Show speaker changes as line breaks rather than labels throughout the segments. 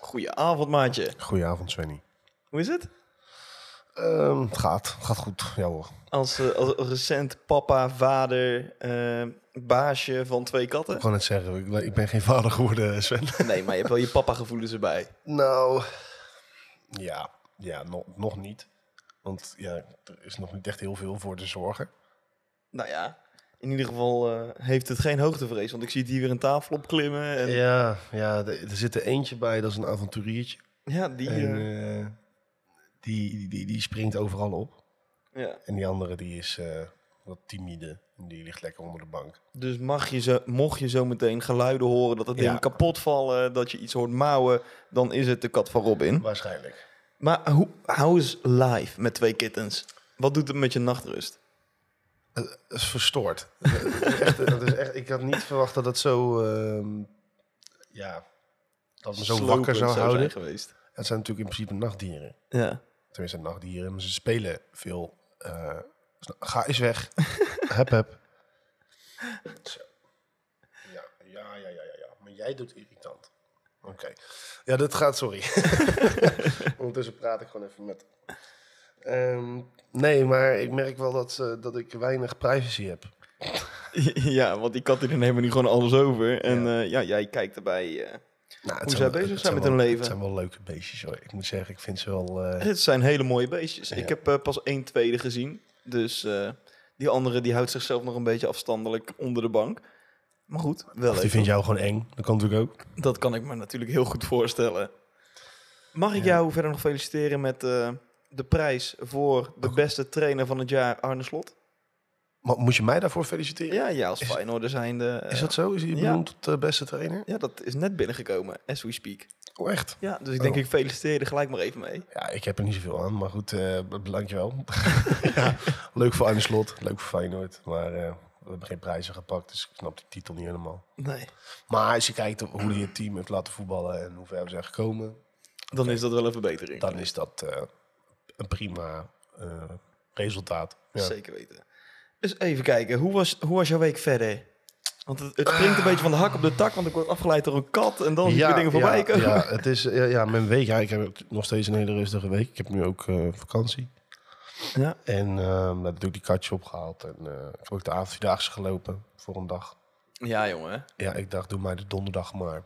Goedenavond, maatje.
Goedenavond, Svenny.
Hoe is het?
Ehm, het gaat. Het gaat goed. Ja hoor.
Als, eh, als recent papa, vader, eh, baasje van twee katten.
Ik kan het zeggen. Ik, ben- ik ben geen vader geworden, eh, Sven.
Nee, maar je hebt wel je papa-gevoelens erbij.
Nou, ja. Ja, no- nog niet. Want ja, er is nog niet echt heel veel voor te zorgen.
Nou ja, in ieder geval eh, heeft het geen hoogtevrees. Want ik zie het hier weer een tafel opklimmen. En, ja.
Ja, ja de- er zit er eentje bij. Dat is een avonturiertje.
die...
En,
eh,
eh, die, die, die springt overal op.
ja.
En die andere die is eh, wat timide. En die ligt lekker onder de bank.
Dus mag je zo, mocht je zo meteen geluiden horen dat het ding
Ja.
kapot vallen, dat je iets hoort mouwen, dan is het de kat van Robin.
Waarschijnlijk.
Maar hoe, how is live met twee kittens? Wat doet het met je nachtrust?
Dat is verstoord. echt, dat is echt, ik had niet verwacht dat het zo... ehm, ja, dat me zo
Slopend
wakker zou
zijn
houden.
geweest.
Het zijn natuurlijk in principe nachtdieren.
Ja.
Tenminste, nachtdieren. Maar ze spelen veel. eh, ga eens weg. heb, heb. Zo. Ja, ja, ja, ja, ja, ja. Maar jij doet irritant. Oké. Ja, dat gaat, sorry. Ondertussen praat ik gewoon even met... Ehm, nee, maar ik merk wel dat, ze- dat ik weinig privacy heb.
Ja, want die katten die nemen nu gewoon alles over. En ja, ja jij kijkt erbij. eh,
Nou, het
Hoe zij
wel-
bezig
het
zijn met
wel-
hun leven.
Het zijn wel leuke beestjes hoor. Ik moet zeggen, ik vind ze wel... eh,
Dit zijn hele mooie beestjes.
Ja.
Ik heb eh, pas één tweede gezien. Dus eh, die andere die houdt zichzelf nog een beetje afstandelijk onder de bank. Maar goed, wel
of die
even.
vindt jou gewoon eng. Dat kan natuurlijk ook.
Dat kan ik me natuurlijk heel goed voorstellen. Mag ik jou verder nog feliciteren met eh, de prijs voor de beste trainer van het jaar, Arne Slot?
Maar moet je mij daarvoor feliciteren?
Ja, ja, als Feyenoorder zijnde. eh,
Is dat zo? Is hij
Ja.
benoemd tot de beste trainer?
Ja, dat is net binnengekomen, as we speak.
Oh, echt?
Ja, dus ik denk,
Oh.
ik feliciteer je er gelijk maar even mee.
Ja, ik heb er niet zoveel aan, maar goed, eh dankjewel. ja, leuk voor Arne Slot, leuk voor Feyenoord, maar eh, we hebben geen prijzen gepakt, dus ik snap de titel niet helemaal.
Nee.
Maar als je kijkt op hoe hij het team heeft laten voetballen en hoe ver we zijn gekomen,
Dan is dat wel een verbetering.
dan is dat eh, een prima eh, resultaat. Ja.
Zeker weten. Dus even kijken, hoe was, hoe was jouw week verder? Want het, het springt een beetje van de hak op de tak, want ik word afgeleid door een kat en dan zie ik weer dingen voorbij
Ah. ja,
komen.
ja, het is, ja, ja, mijn week, ja, ik heb nog steeds een hele rustige week. Ik heb nu ook eh, vakantie.
Ja.
En ehm dat doe ik die katje opgehaald. En eh, ik heb ook de avondvierdaagse gelopen voor een dag.
Ja, jongen.
Ja, ik dacht, doe mij de donderdag maar.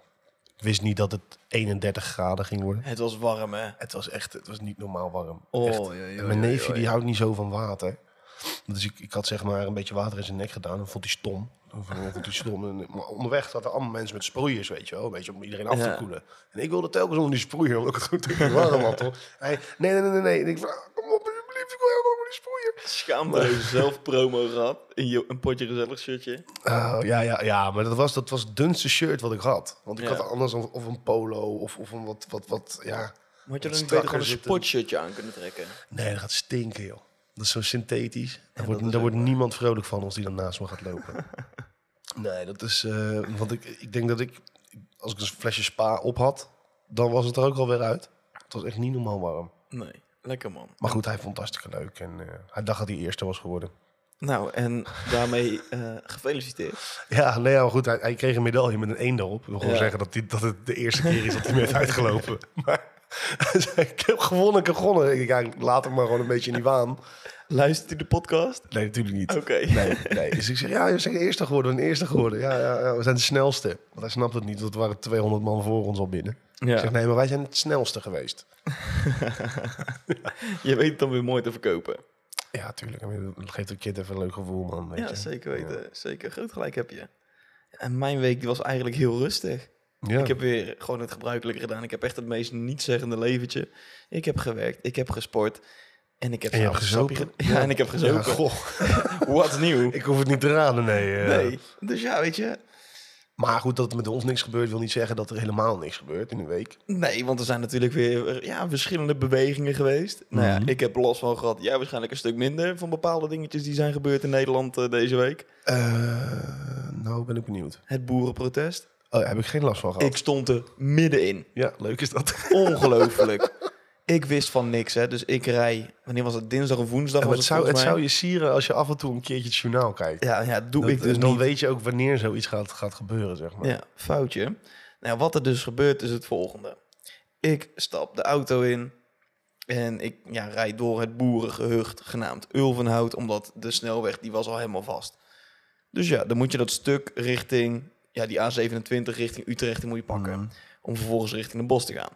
Ik wist niet dat het 31 graden ging worden.
Het was warm, hè?
Het was echt, het was niet normaal warm.
Oh,
echt.
ja, ja,
en mijn
ja,
neefje,
ja,
die
ja.
houdt niet zo van water. Dus ik, ik had zeg maar een beetje water in zijn nek gedaan en vond hij stom. Dan vond ik- vond hij stom. En, eh, maar onderweg zaten allemaal mensen met sproeiers, weet je wel. Een beetje om iedereen af te
Ja.
koelen. En ik wilde telkens onder die sproeier, omdat ik het goed warm had. Hoor. Hij, nee, nee, nee, nee, nee. En ik van, ah, kom op, alsjeblieft, ik wil helemaal onder die sproeier.
Schaamteloos zelf promo gehad in je, een potje gezellig shirtje.
Oh, ja, ja, ja, maar dat was, dat was het dunste shirt wat ik had. Want ik
Ja.
had anders of, of een polo of, of een wat, wat, wat, ja.
Maar had je
Wat
dan niet
strakker
beter gewoon een
zitten.
sportshirtje aan kunnen trekken?
Nee, dat gaat stinken, joh. Dat is zo synthetisch. Daar wordt,
dat is
daar
ook
wordt niemand vrolijk van als die dan naast me gaat lopen. nee, dat is, eh, want ik, ik denk dat ik, als ik een flesje spa op had, dan was het er ook alweer uit. Het was echt niet normaal warm.
Nee, lekker man.
Maar goed, hij vond het hartstikke leuk en eh, hij dacht dat hij eerste was geworden.
Nou, en daarmee eh, gefeliciteerd.
Ja, nee, ja, maar goed, hij, hij kreeg een medaille met een één erop. Ik wil gewoon
Ja.
zeggen dat, die, dat het de eerste keer is dat hij me heeft uitgelopen. Maar hij zei, ik heb gewonnen, ik heb gewonnen. Ik denk, ja, laat hem maar gewoon een beetje in die waan.
Luistert u de podcast?
Nee, natuurlijk niet.
Oké.
Nee, nee. Dus ik zeg, ja, je bent eerste geworden, een eerste geworden. Ja, ja, ja, we zijn de snelste. Want hij snapt het niet, want er waren 200 man voor ons al binnen. Ik zeg,
Ja,
nee, maar wij zijn het snelste geweest.
je weet het dan weer mooi te verkopen.
Ja, tuurlijk. I mean, Dat geeft een kind even een leuk gevoel, man. Weet
Ja,
je.
zeker weten. Zeker. Groot gelijk heb je. En mijn week die was eigenlijk heel rustig.
Ja.
Ik heb weer gewoon het gebruikelijke gedaan. Ik heb echt het meest nietszeggende leventje. Ik heb gewerkt, ik heb gesport. En ik heb
En je hebt
s'avonds een sapje
gezopen?
ge- Ja, en ik heb
Ja,
gezopen.
goh,
Wat nieuw.
ik hoef het niet te raden, nee. eh.
Nee. Dus ja, weet je.
Maar goed, dat er met ons niks gebeurt, wil niet zeggen dat er helemaal niks gebeurt in een week.
Nee, want er zijn natuurlijk weer eh, ja, verschillende bewegingen geweest. Nou ja,
Mhm.
ik heb last van gehad. Jij waarschijnlijk een stuk minder van bepaalde dingetjes die zijn gebeurd in Nederland eh, deze week.
Eh, nou, ben ik benieuwd.
Het boerenprotest.
Oh, daar heb ik geen last van gehad.
Ik stond er middenin.
Ja, leuk is dat.
Ongelooflijk. ik wist van niks, hè. Dus ik rij... Wanneer was het? Dinsdag of woensdag
Ja, maar
was
het,
het
zou, het
volgens mij.
zou je sieren als je af en toe een keertje het journaal kijkt.
Ja, ja, doe
Dat-
ik dus
dan
niet.
weet je ook wanneer zoiets gaat, gaat gebeuren, zeg maar.
Ja, foutje. Nou, wat er dus gebeurt is het volgende. Ik stap de auto in en ik ja, rijd door het boerengehucht genaamd Ulvenhout, omdat de snelweg die was al helemaal vast. Dus ja, dan moet je dat stuk richting, ja, die A27 richting Utrecht die moet je pakken
Mhm.
om vervolgens richting de bos te gaan.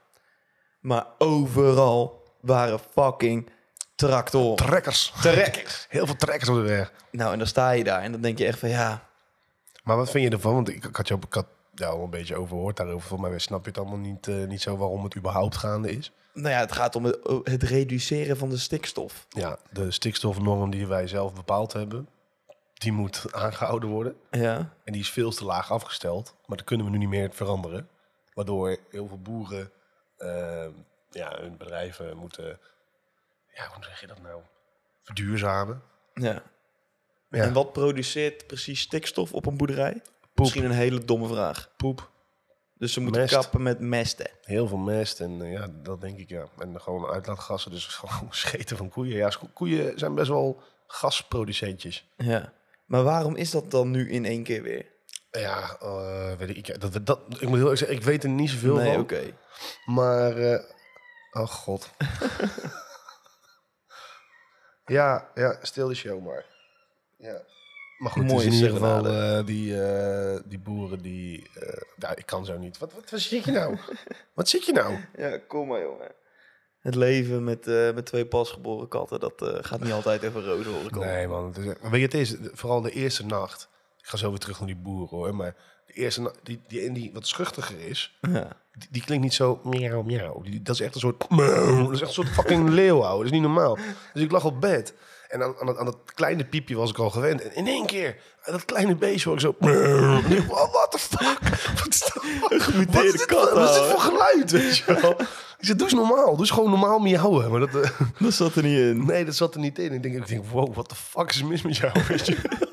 Maar overal waren fucking tractoren.
Trekkers.
Trekkers.
Heel veel trekkers op de weg.
Nou, en dan sta je daar en dan denk je echt van ja,
Maar wat vind je ervan? Want ik, ik had jou, ik had jou al een beetje overhoord daarover. Volgens mij snap je het allemaal niet, eh, niet zo waarom het überhaupt gaande is.
nou ja, het gaat om het, het reduceren van de stikstof.
Ja, de stikstofnorm die wij zelf bepaald hebben, die moet aangehouden worden.
Ja.
En die is veel te laag afgesteld. Maar dat kunnen we nu niet meer veranderen. Waardoor heel veel boeren eh, ja, hun bedrijven moeten... Ja, hoe zeg je dat nou? Verduurzamen.
ja.
Ja,
En wat produceert precies stikstof op een boerderij? Misschien een hele domme vraag.
poep.
Dus ze moeten
Mest.
kappen met mesten.
Heel veel mest en eh, ja, dat denk ik ja. En gewoon uitlaatgassen, dus gewoon scheten van koeien. Ja, scho- koeien zijn best wel gasproducentjes.
Ja. Maar waarom is dat dan nu in één keer weer?
Ja, eh, weet ik, ja, dat, dat, ik moet heel erg zeggen, ik weet er niet zoveel
nee,
van.
oké.
Maar, eh, oh god. ja, ja, stil de show maar. Ja. Maar goed,
Mooie
dus in ieder geval
serenade.
eh, die, eh, die boeren die... eh, ja, ik kan zo niet. Wat, wat, wat zit je nou? wat zit je nou?
Ja, kom maar, jongen. Het leven met, eh, met twee pasgeboren katten, dat eh, gaat niet altijd even roze horen komen.
Nee man, het is echt- maar weet je, het is vooral de eerste nacht. Ik ga zo weer terug naar die boeren hoor. Maar de eerste nacht, die, die, en die wat schuchtiger is,
Ja.
die, die klinkt niet zo miauw, miauw. Die- Dat is echt een soort... meeuw. Dat is echt een soort fucking leeuw, ouwe. Dat is niet normaal. Dus ik lag op bed. En aan, aan, dat, aan dat kleine piepje was ik al gewend. En in één keer, aan dat kleine beestje hoor ik zo... meeuw. En ik, wow, what the fuck? Wat is dat? Wat is dit,
kat,
wat is dit
ouwe.
voor geluid, weet je wel? Ik zei, doe eens normaal. Doe eens gewoon normaal miauwen. Maar dat... eh,
Dat zat er niet in.
Nee, dat zat er niet in. Ik denk, ik denk wow, wat de fuck is er mis met jou? Weet je?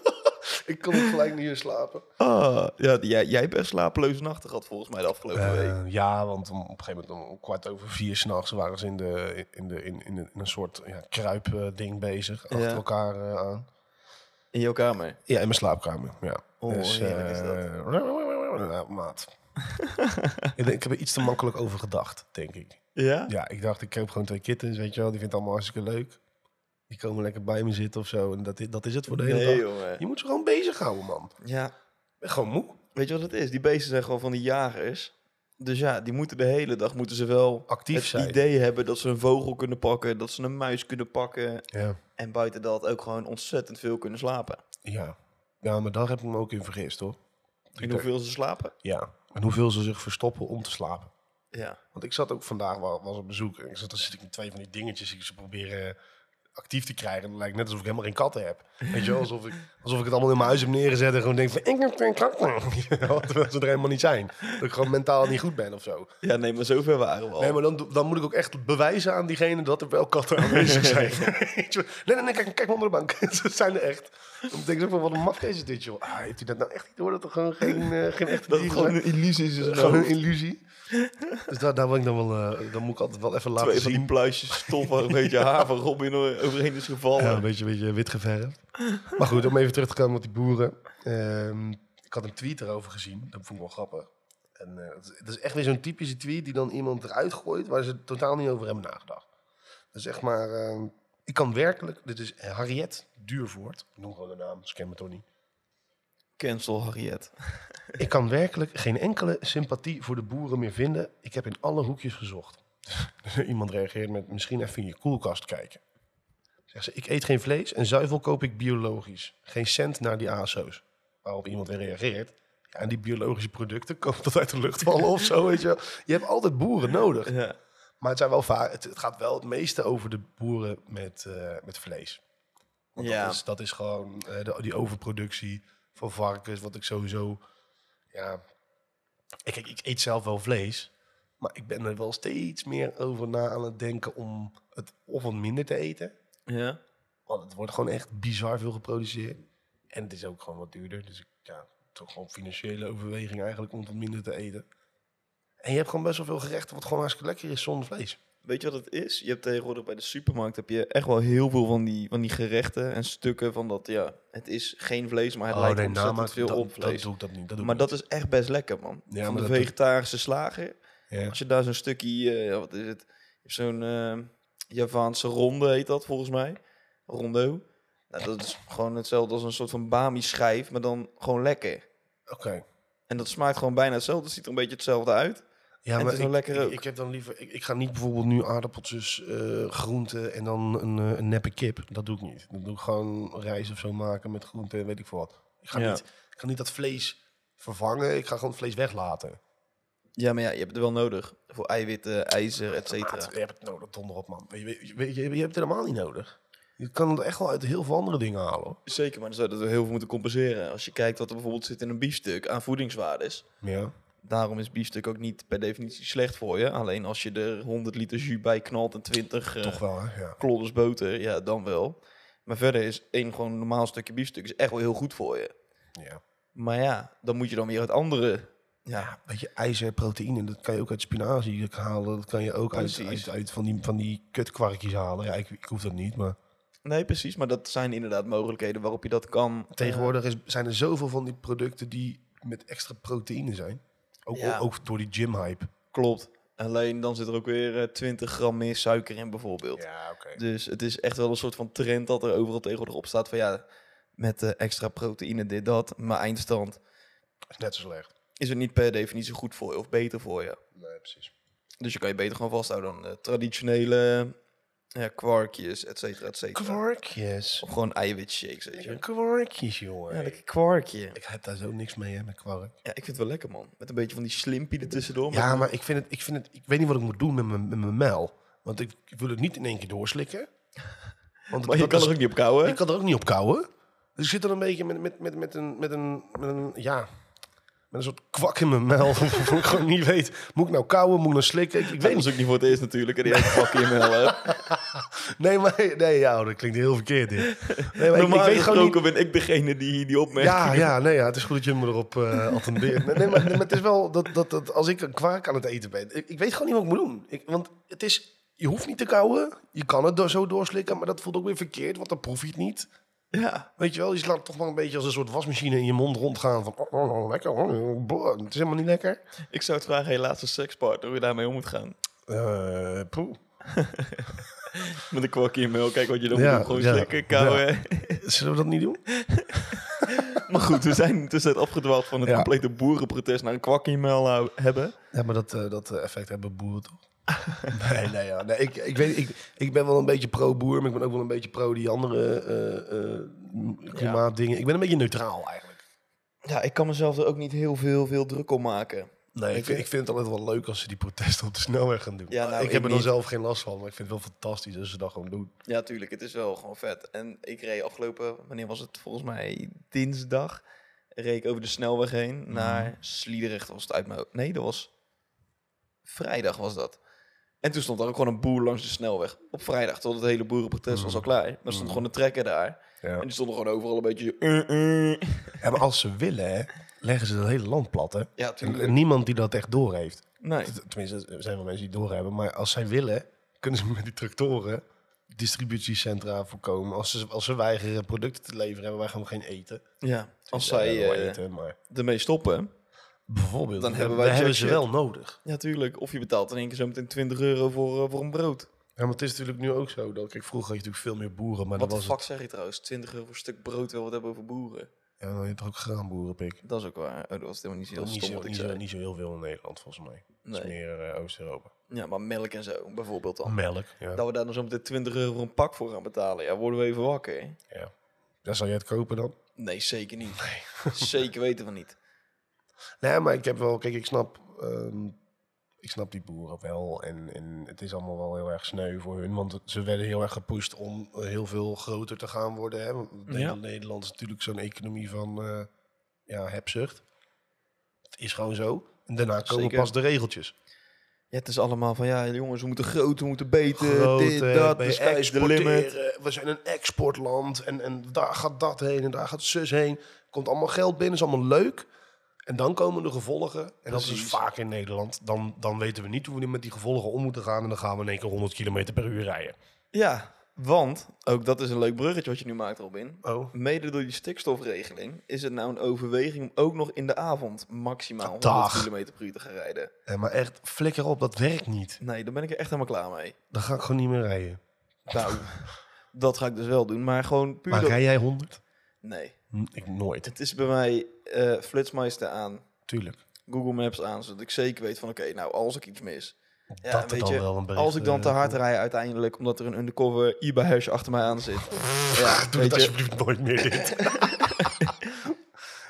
ik kon ook gelijk niet meer slapen.
Ah, ja, jij, jij hebt echt slapeloze nachten gehad volgens mij de afgelopen week.
Eh, ja, want om, op een gegeven moment om, kwart over vier s'nachts waren ze in, de, in, de, in, in, de- in een soort ja, kruipding ding bezig. Achter
Ja.
elkaar eh, aan.
In jouw kamer.
Ja, in mijn slaapkamer. Ja. Dus,
Oh, heerlijk is dat.
eh, ja, maat. ik, denk, ik heb er iets te makkelijk over gedacht, denk ik.
Ja?
Ja, ik dacht, ik koop gewoon twee kittens, weet je wel. Die vindt het allemaal hartstikke leuk. Die komen lekker bij me zitten of zo. En dat, i- dat is het voor de hele dag.
nee, jongen.
Je moet ze gewoon bezighouden, man.
Ja,
Ik ben gewoon moe.
weet je wat het is? Die beesten zijn gewoon van die jagers. Dus ja, die moeten de hele dag moeten ze wel
Actief
het
zijn.
idee hebben dat ze een vogel kunnen pakken, dat ze een muis kunnen pakken.
Ja.
En buiten dat ook gewoon ontzettend veel kunnen slapen.
ja. Ja, maar daar heb ik me ook in vergist, hoor.
En hoeveel ze slapen?
Ja. En hoeveel ze zich verstoppen om te slapen.
Ja.
Want ik zat ook vandaag, wa- was op bezoek. En ik zat, dan zit ik met twee van die dingetjes. Ik ze proberen eh, actief te krijgen. En het lijkt net alsof ik helemaal geen katten heb. Weet je wel, alsof ik, alsof ik het allemaal in mijn huis heb neergezet. En gewoon denk van, ik heb geen katten. Wat terwijl ze er helemaal niet zijn. Dat ik gewoon mentaal niet goed ben of zo.
Ja, nee, maar zover waren we al.
Nee, maar dan, dan moet ik ook echt bewijzen aan diegene dat er wel katten aanwezig zijn. Weet je wel. nee, nee, nee, kijk, kijk maar onder de bank. Ze zijn er echt. Dan denk ik ook van, wat een mafkees is dit, joh. Ah, heeft hij dat nou echt niet door? Dat er gewoon geen, eh, geen echte
dat het
dieren
gewoon
zijn?
een illusie is. in zijn
Gewoon een
hoofd.
illusie. Dus daar, daar, wil ik dan, wel, eh, dan moet ik altijd wel even laten
Twee van die
zien.
pluisjes stof waar een beetje haar van Robin overheen is gevallen.
Ja, een beetje, een beetje wit geverfd. Maar goed, om even terug te komen op die boeren. Ehm, ik had een tweet erover gezien. Dat vond ik wel grappig. En, eh, het is- het is echt weer zo'n typische tweet die dan iemand eruit gooit... waar ze totaal niet over hebben nagedacht. Dus zeg maar, ehm, ik kan werkelijk... Dit is Harriet Duurvoort. Ik noem gewoon de naam, ze kennen me toch niet.
Cancel Harriet.
Ik kan werkelijk geen enkele sympathie voor de boeren meer vinden. Ik heb in alle hoekjes gezocht. Iemand reageert met misschien even in je koelkast kijken. Zegt ze, ik eet geen vlees en zuivel koop ik biologisch. Geen cent naar die ASO's. Waarop iemand weer reageert. Ja, en die biologische producten komen tot uit de lucht vallen of zo, weet je wel. Je hebt altijd boeren nodig.
Ja.
Maar het, zijn wel va- het, het gaat wel het meeste over de boeren met, eh, met vlees. Want
Ja.
dat, is, dat is gewoon eh, de- die overproductie van varkens, wat ik sowieso... Ja, ik, ik, ik eet zelf wel vlees, maar ik ben er wel steeds meer over na aan het denken om het of wat minder te eten.
Ja.
Want het wordt gewoon echt bizar veel geproduceerd. En het is ook gewoon wat duurder. Dus ik, ja, toch gewoon financiële overweging eigenlijk om wat minder te eten. En je hebt gewoon best wel veel gerechten wat gewoon hartstikke lekker is zonder vlees.
Weet je wat het is? Je hebt tegenwoordig bij de supermarkt heb je echt wel heel veel van die, van die gerechten en stukken van dat, ja, het is geen vlees, maar het lijkt ontzettend
Oh, nou, maar
veel
dat,
op
dat
vlees.
doe ik dat niet. Dat doe
maar
ik
dat is echt best lekker, man.
Ja,
van
maar
de
dat doe-
vegetarische slager
Ja.
Als je daar zo'n stukje, eh, wat is het? Je hebt Zo'n eh, Javaanse ronde heet dat volgens mij. Rondo. Nou, dat is gewoon hetzelfde als een soort van bami-schijf, maar dan gewoon lekker.
Oké.
En dat smaakt gewoon bijna hetzelfde. Het ziet er een beetje hetzelfde uit.
Ja,
het
maar
is wel
ik,
lekker
ik-
ook.
Ik, heb dan liever, ik, ik ga niet bijvoorbeeld nu aardappeltjes, eh groenten en dan een, eh, een neppe kip. Dat doe ik niet. Dan doe ik gewoon rijst of zo maken met groenten en weet ik veel wat. Ik ga,
Ja.
niet, ik ga niet dat vlees vervangen. Ik ga gewoon het vlees weglaten.
Ja, maar ja, je hebt het wel nodig. Voor eiwitten, ijzer, et cetera.
Maat, Je hebt het nodig, donder op man. Je, weet- je, weet- je, je hebt het helemaal niet nodig. Je kan het echt wel uit heel veel andere dingen halen. hoor.
Zeker, maar dan zouden we heel veel moeten compenseren. Als je kijkt wat er bijvoorbeeld zit in een biefstuk aan voedingswaardes.
Ja.
Daarom is biefstuk ook niet per definitie slecht voor je. Alleen als je er 100 liter jus bij knalt en 20 eh,
Toch wel, hè? Ja.
klodders boter, ja, dan wel. Maar verder is één gewoon normaal stukje biefstuk is echt wel heel goed voor je.
ja.
Maar ja, dan moet je dan weer het andere. Ja,
Ja, weet je, ijzer, proteïne, dat kan je ook uit spinazie halen. Dat kan je ook uit,
Precies.
uit, uit van die, van die kutkwarkjes halen. Ja, ik, ik hoef dat niet, maar...
nee, precies. Maar dat zijn inderdaad mogelijkheden waarop je dat kan.
Tegenwoordig is, zijn er zoveel van die producten die met extra proteïne zijn. Ook,
Ja.
ook door die gym-hype.
Eh, klopt. Alleen dan zit er ook weer eh, 20 gram meer suiker in, bijvoorbeeld.
Ja, oké.
Dus het is echt wel een soort van trend dat er overal tegenwoordig op staat van ja, met eh, extra proteïne dit dat, maar eindstand
Is net zo slecht.
is het niet per definitie goed voor je of beter voor je.
Nee, precies.
Dus je kan je beter gewoon vasthouden aan eh, traditionele eh, ja, kwarkjes, et cetera, et cetera.
Kwarkjes.
Of gewoon eiwitshakes, weet je.
Kwarkjes, jongen.
Ja, lekker kwarkje.
Ik heb daar zo niks mee, hè, met kwark.
Ja, ik vind het wel lekker, man. Met een beetje van die slimpie ertussendoor.
Ja,
maar...
maar ik vind het... Ik, vind het, ik weet niet wat ik moet doen met mijn, met mijn mel. Want ik, ik wil het niet in één keer doorslikken. Want het-
Maar je
dat
kan
is-
er ook niet op kouwen.
Ik kan er ook niet op kouwen. Dus ik zit dan een beetje met, met, met, met, een, met, een, met een, ja, met een soort kwak in mijn mel. Waarvan ik gewoon niet weet, moet ik nou kouwen, moet ik nou slikken? Ik, ik
Dat
weet niet.
is ook niet voor het eerst natuurlijk. En die hele pakje in mijn hel.
Nee, maar, nee, ja, oh, dat klinkt heel verkeerd dit. Nee, maar ik- ik,
Normaal
weet gewoon
gesproken
niet.
ben ik degene die die opmerkt.
Ja, ja, nee, ja, het is goed dat je me erop eh attendeert. Nee, nee, maar, nee, maar het is wel dat, dat, dat als ik een kwaak aan het eten ben, ik, ik weet gewoon niet wat ik moet doen. Ik, want het is, je hoeft niet te kouwen, je kan het door, zo doorslikken, maar dat voelt ook weer verkeerd, want dan proef je het niet.
ja.
Weet je wel, je slaat toch maar een beetje als een soort wasmachine in je mond rondgaan. Van, oh, oh, oh, lekker, oh, oh, boah, het is helemaal niet lekker.
Ik zou het vragen aan je laatste sekspartner hoe je daarmee om moet gaan.
Eh poeh.
Met een kwakje in melk, kijk wat je dan
Ja,
moet doen. Gewoon
ja,
slikken, kauwen.
Zullen we dat niet doen?
Maar goed, we zijn tussentijd afgedwaald van het
Ja.
complete boerenprotest naar een kwakje in mijn hel hebben.
Ja, maar dat, eh, dat eh, effect hebben boeren toch? nee, nee, ja. nee ik, ik, weet, ik, ik ben wel een beetje pro-boer, maar ik ben ook wel een beetje pro die andere eh, eh, klimaatdingen. Ik ben een beetje neutraal eigenlijk.
Ja, ik kan mezelf er ook niet heel veel, veel druk om maken.
Nee, ik, vind, ik vind het altijd wel leuk als ze die protesten op de snelweg gaan doen.
Ja, nou,
ik
ik
heb er dan
niet.
zelf geen last van, maar ik vind het wel fantastisch als ze dat gewoon doen.
Ja, tuurlijk, het is wel gewoon vet. En ik reed afgelopen, wanneer was het? Volgens mij dinsdag. Reed ik over de snelweg heen
Mhm.
naar Sliedrecht, was het uit mijn hoofd. Nee, dat was vrijdag was dat. En toen stond daar ook gewoon een boer langs de snelweg. Op vrijdag, tot het hele boerenprotest
Mhm.
was al klaar. Maar er stond gewoon een trekker daar.
Ja.
En die stonden gewoon overal een beetje... zo, eh, eh.
Ja, maar als ze willen, hè, leggen ze het hele land plat, hè?
Ja, tuurlijk.
En Niemand die dat echt doorheeft.
Nee.
T- Tenminste, er zijn wel mensen die doorhebben. Maar als zij willen, kunnen ze met die tractoren distributiecentra voorkomen. Als ze, als ze weigeren producten te leveren, hebben wij gewoon geen eten.
Ja, als
Ja,
zij
wel
eh,
eten, maar
ermee stoppen...
bijvoorbeeld,
dan
dan
hebben
hebben,
wij
ze
jackshit.
wel nodig.
Ja, tuurlijk. Of je betaalt in één keer zo meteen 20 euro voor, eh, voor een brood.
Ja, maar het is natuurlijk nu ook zo. Dat, kijk, vroeger had je natuurlijk veel meer boeren, maar
Wat de
dan was
fuck zeg je trouwens? 20 euro voor een stuk brood, wil wat hebben over boeren.
het... Ja, dan had je toch ook graanboeren, pik.
Dat is ook waar. Oh, dat was helemaal niet zo heel
Niet
stom
zo,
wat ik
niet, zo,
zei.
niet zo heel veel in Nederland, volgens mij. Het is
Nee.
meer eh, Oost-Europa.
Ja, maar melk en zo bijvoorbeeld dan.
Melk, ja.
Dat we daar dan zo meteen 20 euro voor een pak voor gaan betalen. Ja, worden we even wakker. hè?
ja. Dan zou jij het kopen dan?
Nee, zeker niet. zeker weten we niet.
Nee, maar ik heb wel, kijk, ik snap, ehm, ik snap die boeren wel. En, en het is allemaal wel heel erg sneu voor hun. Want ze werden heel erg gepusht om eh, heel veel groter te gaan worden. Hè? Want het hele
Ja.
Nederland is natuurlijk zo'n economie van eh, ja, hebzucht. Het is gewoon zo. En daarna komen
Zeker.
pas de regeltjes.
Ja, het is allemaal van, ja jongens, we moeten groot, we moeten beter, dit,
Groter,
dat,
bij
de sky is the limit.
exporteren. We zijn een exportland. En, en daar gaat dat heen en daar gaat zus heen. Komt allemaal geld binnen, is allemaal leuk. En dan komen de gevolgen. En dat is dus
Precies.
vaak in Nederland. Dan, dan weten we niet hoe we met die gevolgen om moeten gaan. En dan gaan we in één keer 100 km per uur rijden.
Ja, Want, ook dat is een leuk bruggetje wat je nu maakt, Robin.
Oh,
Mede door die stikstofregeling is het nou een overweging om ook nog in de avond maximaal 100
Dag.
km per uur te gaan rijden.
eh, maar echt, flikker op, dat werkt niet.
Nee, daar ben ik er echt helemaal klaar mee.
Dan ga ik gewoon niet meer rijden.
Nou, dat ga ik dus wel doen, maar gewoon puur...
Maar
door-
rij jij 100?
Nee,
Hm, Ik nooit,
het is bij mij eh flitsmeister aan,
tuurlijk.
Google Maps aan, zodat ik zeker weet van oké, nou als ik iets mis. Ja,
dat er
weet
dan
je,
wel een eh, beetje...
Als ik dan te hard rij uiteindelijk, omdat er een undercover IBA-hash achter mij aan zit. Ja,
Doe het
weet je,
alsjeblieft nooit meer dit.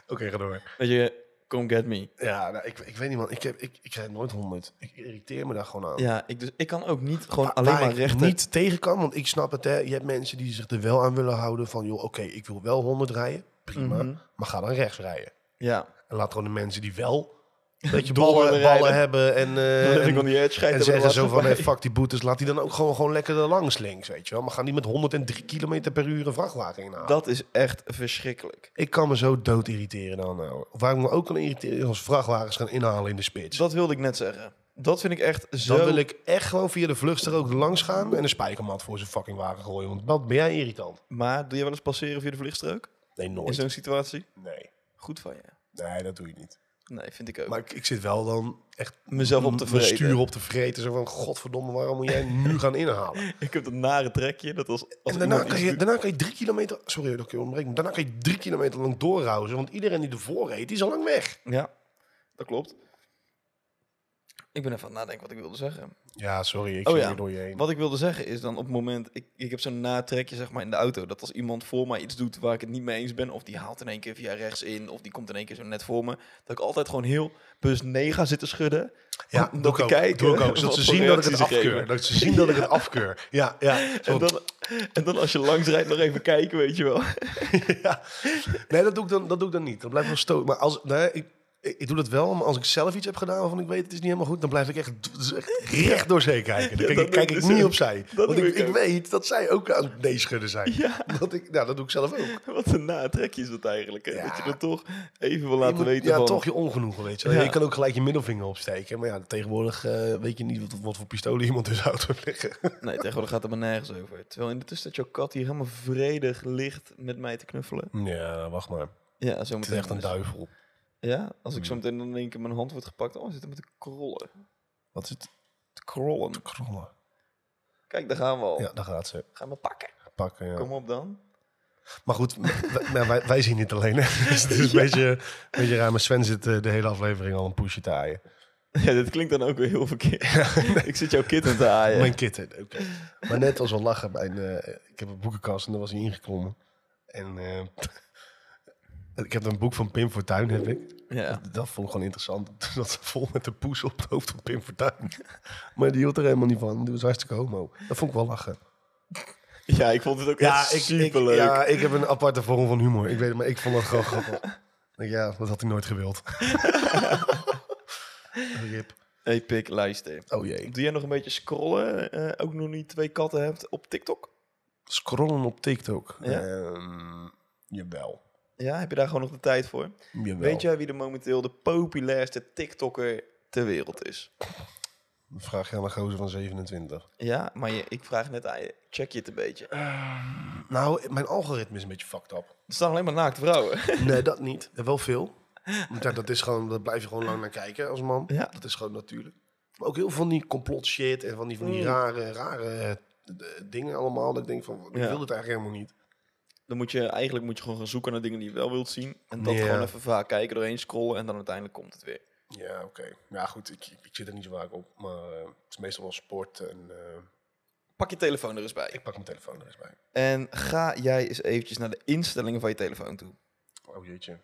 Oké, ga door.
weet je, come get me.
Ja, nou, ik, ik weet niet man, ik, heb, ik, ik rijd nooit 100. Ik irriteer me daar gewoon aan.
Ja, ik, dus, ik kan ook niet gewoon
Wa-
alleen
waar
maar
ik
rechten.
niet tegen kan, want ik snap het hè. Je hebt mensen die zich er wel aan willen houden van... joh, oké, ik wil wel 100 rijden, prima,
Mhm.
maar ga dan rechts rijden.
Ja,
En laat gewoon de mensen die wel een beetje
Door
ballen,
willen
ballen
rijden.
hebben en, eh,
Dan
en,
ik on the edge, schijt
en
er wel
zeggen
wat
zo van...
voorbij.
Hey, fuck die boetes, laat die dan ook gewoon, gewoon lekker er langs links, weet je wel. Maar ga niet met 103 km per uur een vrachtwagen inhalen.
Dat is echt verschrikkelijk.
Ik kan me zo dood irriteren dan. Nou. Waar ik me ook kan irriteren is als vrachtwagens gaan inhalen in de spits.
Dat wilde ik net zeggen. Dat vind ik echt zo...
Dan wil ik echt gewoon via de vluchtstrook langs gaan en een spijkermat voor zijn fucking wagen gooien. Want wat ben jij irritant?
Maar doe je wel eens passeren via de vluchtstrook?
Nee,
In
nooit.
zo'n situatie?
Nee.
Goed van je.
Nee, dat doe ik niet.
Nee, vind ik ook.
Maar ik, ik zit wel dan echt
Mezelf op te
mijn stuur
vreten.
op te vreten. Zo van, godverdomme, waarom moet jij nu gaan inhalen?
Ik heb dat nare trekje. Dat was, als
en daarna
iemand
kan,
iets
je,
doet-
daarna kan je drie kilometer... Sorry dat ik je ontbreek, maar daarna kan je drie kilometer lang doorhouden. Want iedereen die ervoor reed, die is al lang weg.
Ja, dat klopt. Ik ben even aan het nadenken wat ik wilde zeggen.
Ja, sorry, ik
Oh
ging
ja.
er door je heen.
Wat ik wilde zeggen is dan op het moment, ik, ik heb zo'n natrekje zeg maar in de auto, dat als iemand voor mij iets doet waar ik het niet mee eens ben, of die haalt in één keer via rechts in, of die komt in één keer zo net voor me, dat ik altijd gewoon heel bus 9 ga zitten schudden.
Ja,
om
doe
dan
ik
te
ook.
kijken
Doe ik ook.
wat
Zodat ze
voor
zien dat ik het
reacties ze
afkeur.
geven.
Dat ze zien dat ik het afkeur. Ja, ja.
En
Zo-
dan, en dan als je langs rijdt nog even kijken, weet je wel.
ja. Nee, dat doe, ik dan, dat doe ik dan niet. Dat blijft wel stoot. Maar als, nee, ik, ik ik doe dat wel, maar als ik zelf iets heb gedaan waarvan ik weet het is niet helemaal goed, dan blijf ik echt, d- dus echt recht door zee kijken. Dan
Ja,
kijk,
dat
ik- kijk
doe
ik
ik dus
niet
ook.
opzij.
Dat
Want
doe
ik,
ik
ik
ook.
weet dat zij ook aan het nee schudden zijn.
Ja,
Dat ik, nou, dat doe ik zelf ook.
wat een natrekje is dat eigenlijk. Hè?
Ja.
Dat je dat toch even wil
Je
laten
moet-
weten.
ja,
van,
toch je ongenoegen, weet je. wel.
Ja.
Je kan ook gelijk je middelvinger opsteken. Maar ja, tegenwoordig eh, weet je niet wat, wat voor pistolen iemand in zijn auto liggen.
Nee, tegenwoordig gaat het maar nergens over. Terwijl in de tussentijd jouw kat hier helemaal vredig ligt met mij te knuffelen.
Ja, wacht maar.
Ja, zo
Het is echt een duivel.
Ja, als
Mm.
ik zo meteen dan in één keer mijn hand wordt gepakt. Oh, hij zit er met de krollen.
Wat is het?
Te krollen.
Krollen.
Kijk, daar gaan we al.
Ja, daar gaat ze.
Gaan we pakken.
Pakken, ja.
Kom op dan.
Maar goed, w- nou, wij, wij zien het alleen. Hè? Dus het is een, beetje, een beetje raar. Maar Sven zit eh, de hele aflevering al een poesje te aaien.
Ja, dit klinkt dan ook weer heel verkeerd. Ik zit jouw kitten te aaien.
Mijn kitten, oké. Maar net als al lachen, bij een, eh, ik heb een boekenkast en daar was hij ingeklommen. En eh, ik heb een boek van Pim Fortuyn, heb ik.
Ja.
Dat vond ik gewoon interessant. Toen zat ze vol met de poes op het hoofd van Pim Fortuyn. Maar die hield er helemaal niet van. Die was hartstikke homo. Dat vond ik wel lachen.
ja, ik vond het ook echt superleuk.
Ik, ja, ik heb een aparte vorm van humor. Ik weet het, maar ik vond dat gewoon grappig. Ik denk, Ja, dat had hij nooit gewild. Rip.
Hey, pik, luister.
Oh jee.
Doe jij nog een beetje scrollen? eh, ook nog niet twee katten hebt op TikTok?
Scrollen op TikTok.
Ja?
Ehm, jawel.
Ja, heb je daar gewoon nog de tijd voor?
jawel.
Weet jij wie er momenteel de populairste TikToker ter wereld is?
Dan Vraag je aan een gozer van 27.
Ja, maar je, ik vraag net aan je. Check je het een beetje. Er
Nou, mijn algoritme is een beetje fucked up.
staan alleen maar naakte vrouwen.
Nee, dat niet. Ja, Wel veel. Want ja, dat is gewoon, daar blijf je gewoon lang naar kijken als man.
Ja.
Dat is gewoon natuurlijk. Maar ook heel veel van die complot shit en van die, van die
Mm.
rare, rare eh, d- d- dingen allemaal. Dat ik denk van, ik
Ja.
wil het eigenlijk helemaal niet.
Dan moet je eigenlijk moet je gewoon gaan zoeken naar dingen die je wel wilt zien. En dat
Ja.
gewoon even vaak kijken, doorheen scrollen en dan uiteindelijk komt het weer.
Ja, oké. Ja, goed, ik, ik, ik zit er niet zo vaak op. Maar eh, het is meestal wel sport en eh,
Pak je telefoon er eens bij.
ik pak mijn telefoon er eens bij.
En ga jij eens eventjes naar de instellingen van je telefoon toe.
Oh jeetje.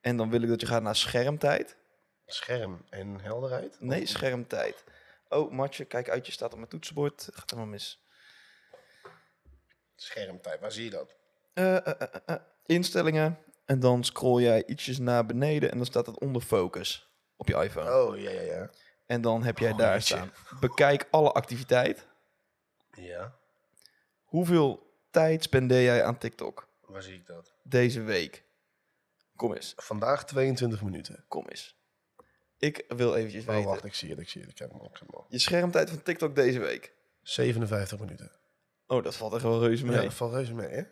En dan wil ik dat je gaat naar schermtijd.
Scherm en helderheid?
Nee, schermtijd. Oh, Matje, kijk uit, je staat op mijn toetsenbord. Gaat helemaal mis.
Schermtijd, waar zie je dat?
Eh, eh, eh, eh, eh. Instellingen. En dan scroll jij ietsjes naar beneden en dan staat het onder focus op je iPhone.
Oh, ja, ja, ja.
En dan heb jij
Oh,
daar
jeetje.
staan. Bekijk alle activiteit.
Ja,
Hoeveel tijd spendeer jij aan TikTok
waar zie ik dat?
deze week? Kom eens,
Vandaag 22 minuten.
kom eens. Ik wil eventjes
Oh,
weten.
wacht, ik zie het, ik zie het. Ik heb hem al, ik heb hem al.
Je schermtijd van TikTok deze week.
57 minuten.
Oh, dat valt echt wel reuze mee.
Ja, dat valt reuze mee, hè?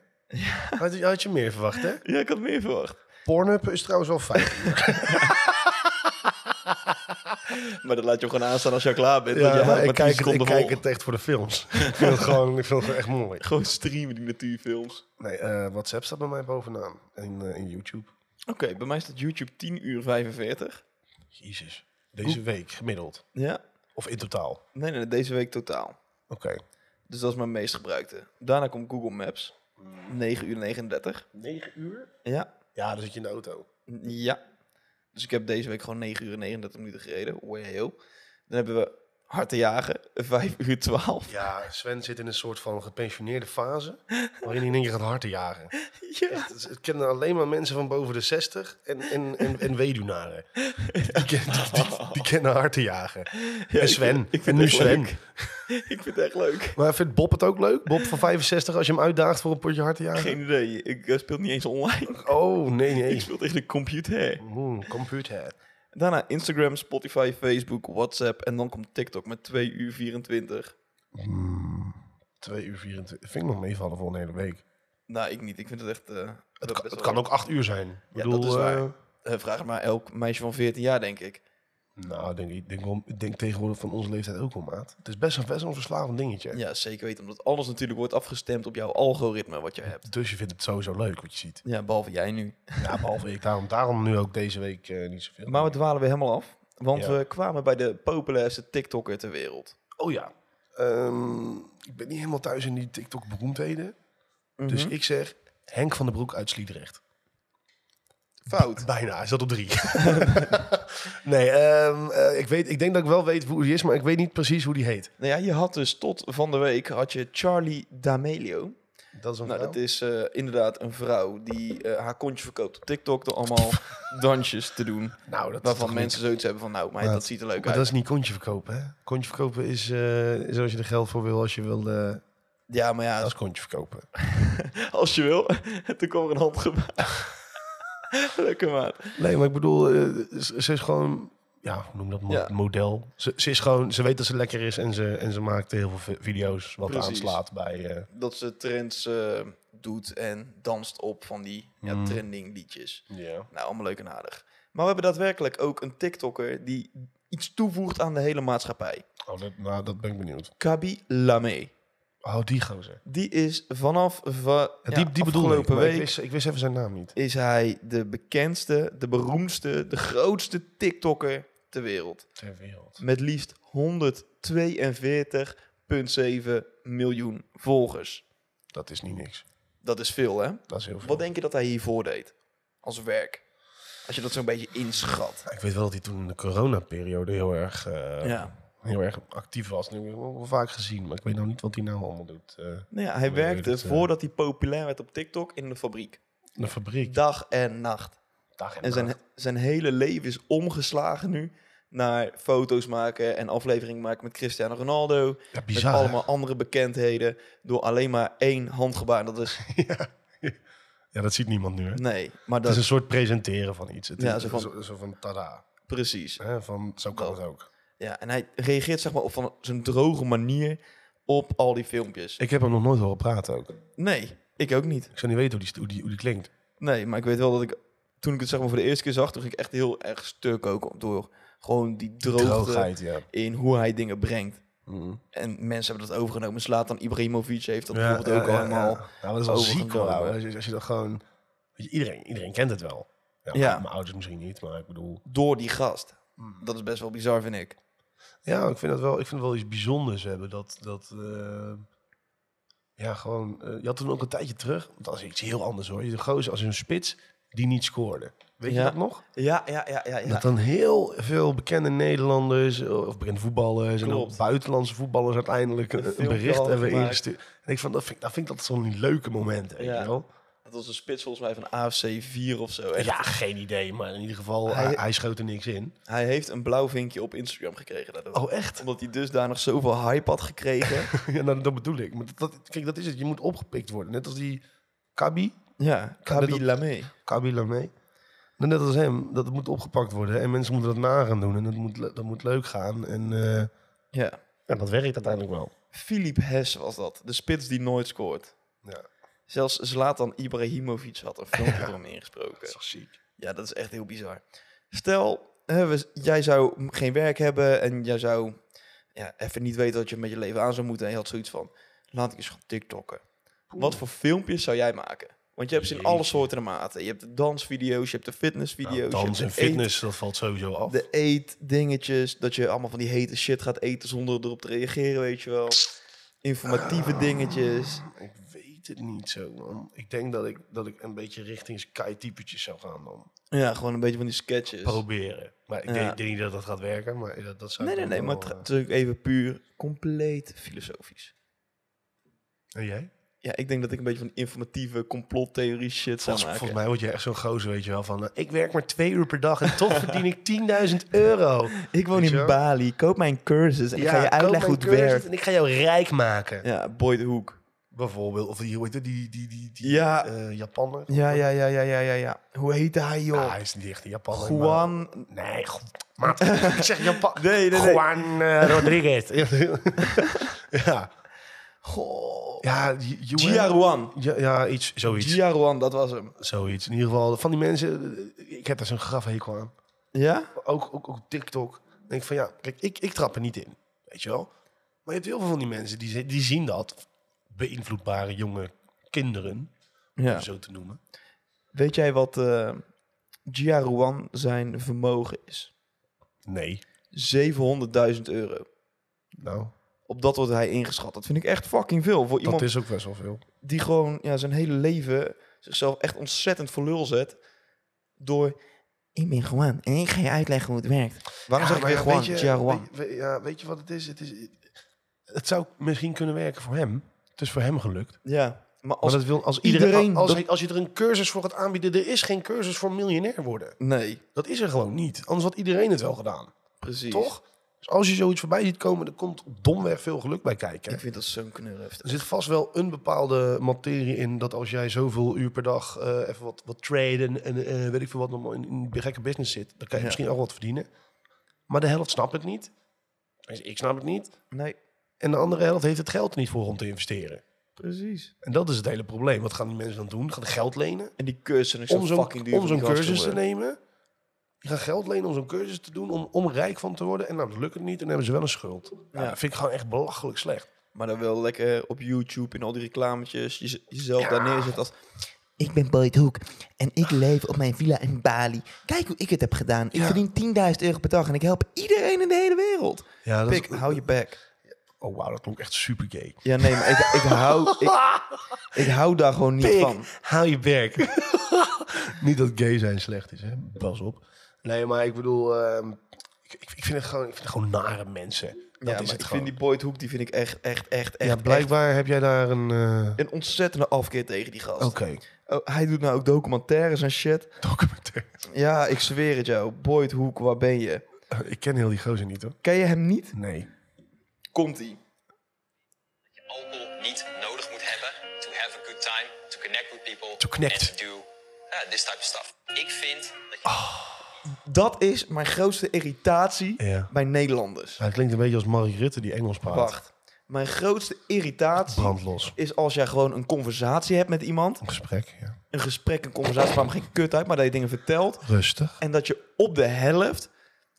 Had, je- had je meer verwacht, hè?
Ja, ik had meer verwacht.
Pornhub is trouwens wel fijn.
Maar dat laat je ook gewoon aanstaan als je al klaar bent.
ja,
Ja, je houdt maar
ik,
tien
kijk, het- ik
seconden
kijk
vol.
het echt voor de films. ik, vind het gewoon, ik vind het gewoon echt mooi.
Gewoon streamen die natuurfilms.
Nee, eh, WhatsApp staat bij mij bovenaan. En eh, in YouTube.
Oké, bij mij staat YouTube 10 uur 45.
Jezus. Deze week gemiddeld.
Ja.
Of in totaal.
Nee, nee, deze week totaal.
Oké.
Dus dat is mijn meest gebruikte. Daarna komt Google Maps. 9 uur 39.
9 uur?
Ja.
Ja, dan zit je in de auto.
Ja. Dus ik heb deze week gewoon 9 uur 39 minuten gereden. Wow. Dan hebben we Harte Jagen. 5 uur 12.
Ja, Sven zit in een soort van gepensioneerde fase. waarin hij in één keer gaat harten jagen.
Ja.
Het het kennen alleen maar mensen van boven de 60 en, en, en, en weduwnaren. Die, ken- die, die- die kennen harten jagen. en Sven.
vind- ik vind
en
het
nu
echt
Sven.
leuk. ik vind het echt leuk.
Maar vindt Bob het ook leuk? Bob van 65 als je hem uitdaagt voor een potje harten jagen?
Geen idee. Ik eh, speel niet eens online.
Oh, nee,
Ik
nee.
speel tegen de computer.
Hmm, computer.
Daarna Instagram, Spotify, Facebook, WhatsApp. En dan komt TikTok met 2 uur 24.
2 uur 24. Vind ik nog meevallen voor een hele week.
Nou, ik niet. Ik vind het echt... eh,
Het,
best
kan- het
wel
kan
leuk.
ook 8 uur zijn. Ik
Ja,
bedoel,
dat is waar.
eh,
Eh, vraag het maar elk meisje van 14 jaar, denk ik.
nou, ik denk, ik, denk wel- ik denk tegenwoordig van onze leeftijd ook wel, maat. Het is best een, best wel een verslavend dingetje.
Ja, zeker weten. Omdat alles natuurlijk wordt afgestemd op jouw algoritme wat je hebt.
Dus je vindt het sowieso leuk wat je ziet.
Ja, behalve jij nu.
Ja, behalve ik. Daarom, daarom nu ook deze week eh, niet zoveel.
Maar we dwalen weer helemaal af. Want
Ja.
we kwamen bij de populairste TikToker ter wereld.
Oh ja. Ehm, ik ben niet helemaal thuis in die TikTok-beroemdheden. Dus
Mhm.
ik zeg Henk van den Broek uit Sliedrecht.
Fout.
Bijna, hij zat op drie. nee, ehm, eh, ik, weet, ik denk dat ik wel weet hoe die is, maar ik weet niet precies hoe die heet.
Nou ja, je had dus tot van de week had je Charlie D'Amelio.
Dat is een
Nou, dat is eh, inderdaad een vrouw die eh, haar kontje verkoopt op TikTok door allemaal dansjes te doen.
nou, dat is toch
Waarvan
niet-
mensen zoiets hebben van, nou, maar
Maar-
dat ziet er leuk
Maar
uit.
dat is niet kontje verkopen, hè? Kontje verkopen is, eh, is als je er geld voor wil, als je wil... eh,
Ja, maar ja,
dat
als,
is kontje verkopen.
als je wil. En toen kwam er een handgebaar. Lekker maat.
Nee, maar ik bedoel, eh, ze, ze is gewoon, ja, hoe noem je dat mo-
Ja.
model. Ze, ze is gewoon, ze weet dat ze lekker is en ze, en ze maakt heel veel vi- video's wat
Precies.
aanslaat bij. eh,
Dat ze trends eh, doet en danst op van die ja,
Mm.
trending liedjes. Nou, allemaal leuk en aardig. Maar we hebben daadwerkelijk ook een TikToker die iets toevoegt aan de hele maatschappij.
Oh, dat, nou, dat ben ik benieuwd.
Kabi Lame.
Oh, die gozer.
Die is vanaf va
Ja,
ja,
die die bedoel ik,
afgelopen
maar ik
week
wist, ik wist even zijn naam niet.
is hij de bekendste, de beroemdste, de grootste TikToker ter wereld.
Ter wereld.
Met liefst 142,7 miljoen volgers.
Dat is niet niks.
Dat is veel, hè?
Dat is heel veel.
Wat denk je dat hij hiervoor deed? Als werk. Als je dat zo'n beetje inschat.
Ik weet wel dat hij toen in de coronaperiode heel erg, eh,
Ja.
heel erg actief was. Nu heb ik hem wel vaak gezien, maar ik weet nou niet wat hij nou allemaal doet. Eh,
Nou ja, hij
Maar je
werkte
weet het, eh.
voordat hij populair werd op TikTok in de fabriek.
in de fabriek.
Dag en nacht.
Dag en,
En
nacht.
zijn, zijn hele leven is omgeslagen nu naar foto's maken en afleveringen maken met Cristiano Ronaldo.
ja,
Met
bizar. hè?
allemaal andere bekendheden. Door alleen maar één handgebaar. Dat is.
Ja, dat ziet niemand nu. Hè?
Nee, maar
Het
dat
is
is.
een soort presenteren van iets. Het
Ja,
is
zo
zo
van-
van, zo, van tada.
Precies.
Hè, van, zo kan
Dat.
het ook.
Ja, en hij reageert zeg maar op van zo'n droge manier op al die filmpjes.
Ik heb hem nog nooit horen praten ook.
Nee, ik ook niet.
Ik zou niet weten hoe die, hoe die, hoe die klinkt.
Nee, maar ik weet wel dat ik. Toen ik het zeg maar voor de eerste keer zag, toen ging ik echt heel erg stuk ook door gewoon die droogte Mm-hmm.
Droogheid, ja.
in hoe hij dingen brengt.
Mm.
En mensen hebben dat overgenomen. Slatan Ibrahimovic heeft dat
Ja,
bijvoorbeeld
ja,
ook
ja,
allemaal.
ja. Ja, maar dat is wel ziek
overgenomen.
hoor. ouwe. Als je, als je dat gewoon... weet je, iedereen, iedereen kent het wel. Ja,
Ja.
Mijn, mijn ouders misschien niet, maar ik bedoel...
Door die gast.
Mm.
Dat is best wel bizar, vind ik.
Ja, ik vind dat wel, ik vind het wel iets bijzonders hebben. Dat, dat eh, ja, gewoon, eh, je had toen ook een tijdje terug, want dat is iets heel anders hoor. Je had een gozer als een spits die niet scoorde. Weet
Ja.
je dat nog?
Ja, ja, ja, ja. ja.
Dat dan heel veel bekende Nederlanders eh, of bekende voetballers en
Klopt.
ook buitenlandse voetballers uiteindelijk een, een
filmpje
bericht
al
hebben
gemaakt.
ingestuurd. En ik van, dat vind, dat vind ik dat zo'n leuke momenten. weet
Ja.
je wel?
Dat was een spits volgens mij van AFC 4 of zo. Echt.
Ja, geen idee, maar in ieder geval,
Hij-
hij, hij schoot er niks in.
Hij heeft een blauw vinkje op Instagram gekregen daardoor.
Oh, echt?
Omdat hij dusdanig zoveel hype had gekregen.
Ja, nou, dat bedoel ik. Maar dat, dat- kijk, dat is het. Je moet opgepikt worden. Net als die Kabi.
ja, Kabi
dat-
Lame.
Kabila mee. Maar Net als hem, dat moet opgepakt worden. En mensen moeten dat na gaan doen. En dat moet, le- dat moet leuk gaan. En eh,
Ja.
ja, dat werkt uiteindelijk wel.
Filip Hess was dat. De spits die nooit scoort.
Ja,
Zelfs Zlatan Ibrahimovic had een filmpje
Ja.
voor hem ingesproken.
toch ziek.
Ja, dat is echt heel bizar. Stel, hè, we- jij zou geen werk hebben en jij zou ja, even niet weten wat je met je leven aan zou moeten. En je had zoiets van, laat ik eens gaan tiktokken. Wat voor filmpjes zou jij maken? Want je hebt ze in alle
Jeetje.
soorten en maten. Je hebt de dansvideo's, je hebt de fitnessvideo's.
Nou, dans
je
en
hebt de eet-
fitness, dat valt sowieso af.
de eetdingetjes, dat je allemaal van die hete shit gaat eten zonder erop te reageren, weet je wel.
Ah.
Informatieve dingetjes.
Ik weet het niet zo, man. Ik denk dat ik, dat ik een beetje richting sky-typetjes zou gaan dan.
Ja, gewoon een beetje van die sketches.
Dus- Proberen. Maar ik
Ja.
denk, denk niet dat dat gaat werken, maar dat, dat zou
Nee,
ik
nee,
dan
nee, maar het
wel,
gaat
eh,
natuurlijk even puur compleet filosofisch.
En jij?
Ja, ik denk dat ik een beetje van die informatieve complottheorie shit zou
Volgens,
maken.
volgens mij word je echt zo'n gozer, weet je wel, van... eh, ik werk maar twee uur per dag en toch verdien ik 10.000 euro.
Ik woon
Weet je
in
wel?
Bali, koop mijn cursus en ik ga je
koop mijn
uitleggen hoe het
cursus
werkt.
En ik ga jou rijk maken.
Ja, Boy de Hoek.
Bijvoorbeeld, of die, hoe heet dat, die, die, die, die
Ja.
eh, Japanner?
Ja, ja, ja, ja, ja, ja, ja. Hoe heette hij, joh?
Ah, hij is niet echt een Japanner. maar-
Juan...
Nee, goed. maat. ik zeg Japan.
Nee, nee, nee.
Juan eh, Rodriguez. ja.
Goh.
Ja, Ju- Ju-
Gia Juan.
ja, ja, iets, zoiets.
Gia Juan, dat was hem.
Zoiets. In ieder geval, van die mensen, eh, ik heb daar zo'n grafhekel aan.
Ja?
Ook, ook, ook TikTok. Ik denk van ja, kijk, ik, ik trap er niet in. Weet je wel? Maar je hebt heel veel van die mensen die, ze- die zien dat. Beïnvloedbare jonge kinderen, om
Ja.
zo te noemen.
Weet jij wat eh Gia Juan zijn vermogen is?
Nee.
700.000 euro.
Nou,
Op dat wordt hij ingeschat. Dat vind ik echt fucking veel. Voor iemand
dat is ook best wel veel.
die gewoon ja, zijn hele leven zichzelf echt ontzettend voor lul zet. Door, ik ben Juan en ik ga je uitleggen hoe het werkt. Waarom zeg ik
maar
weer
ja,
Juan?
weet je-
Gia Juan.
Weet, weet- ja, weet je wat het is? het is? Het zou misschien kunnen werken voor hem. Het is voor hem gelukt.
Ja, maar als...
maar dat wil, als
iedereen-
iedereen, als,
dat-
hij- als je er een cursus voor gaat aanbieden, er is geen cursus voor miljonair worden.
Nee,
Dat is er gewoon niet. Anders had iedereen het wel gedaan.
precies.
Toch? Dus als je zoiets voorbij ziet komen, dan komt domweg veel geluk bij kijken.
Ik vind dat zo'n knurft.
Er zit vast wel een bepaalde materie in dat als jij zoveel uur per dag eh, even wat, wat traden en eh, weet ik veel wat nog in, in de gekke business zit, dan kan je
Ja.
misschien ook wat verdienen. Maar de helft snapt het niet. Tenminste, Ik snap het niet.
Nee,
En de andere helft heeft het geld er niet voor om te investeren.
precies.
En dat is het hele probleem. Wat gaan die mensen dan doen? Gaan geld lenen
En die cursus is
om
zo
zo'n
fucking duur.
om
voor
zo'n
die gasten
cursus te
worden.
nemen? Die gaan geld lenen om zo'n cursus te doen, om, om rijk van te worden. En nou, dan lukt het niet en dan hebben ze wel een schuld. Ja,
Ja.
Dat vind ik gewoon echt belachelijk slecht.
Maar dan wel lekker op YouTube in al die reclametjes. Je, jezelf
Ja.
daar neerzet als...
Ik ben Boyd Hoek en ik leef op mijn villa in Bali. Kijk hoe ik het heb gedaan. Ik
Ja.
verdien 10.000 euro per dag en ik help
Iedereen in de hele wereld.
Ja, dat
Pik, hou je bek.
Oh, wauw, dat klonk echt super gay.
Ja, nee, maar ik, ik, hou, ik, ik hou daar gewoon niet van.
hou je bek. Niet dat gay zijn slecht is, hè? Pas op. Nee, maar ik bedoel, ehm, ik, ik- ik vind het gewoon, ik vind het gewoon nare mensen. Dat
ja,
is
maar
het
ik vind
gewoon.
die Boyd Hoek, die vind ik echt, echt, echt, echt,
ja, blijkbaar heb jij daar een... eh,
echt een ontzettende afkeer tegen die gast.
Oké,
Oh, hij doet nou ook documentaires en shit.
documentaire.
Ja, ik zweer het jou. Boyd Hoek, waar ben je?
Ik ken heel die gozer niet, hoor.
Ken je hem niet?
Nee.
Komt-ie.
alcohol niet nodig moet hebben to have a good time, to connect with people,
To connect. Ah.
and to do uh, this type of stuff. Ik vind dat je
Dat is mijn grootste irritatie
Ja.
bij Nederlanders.
Hij klinkt een beetje als Marie Rutte die Engels praat.
Wacht. Mijn grootste irritatie
Brandlos.
is als jij gewoon een conversatie hebt met iemand.
Een gesprek, ja.
Een gesprek, een conversatie, kwam geen kut uit, maar dat je dingen vertelt.
Rustig.
En dat je op de helft...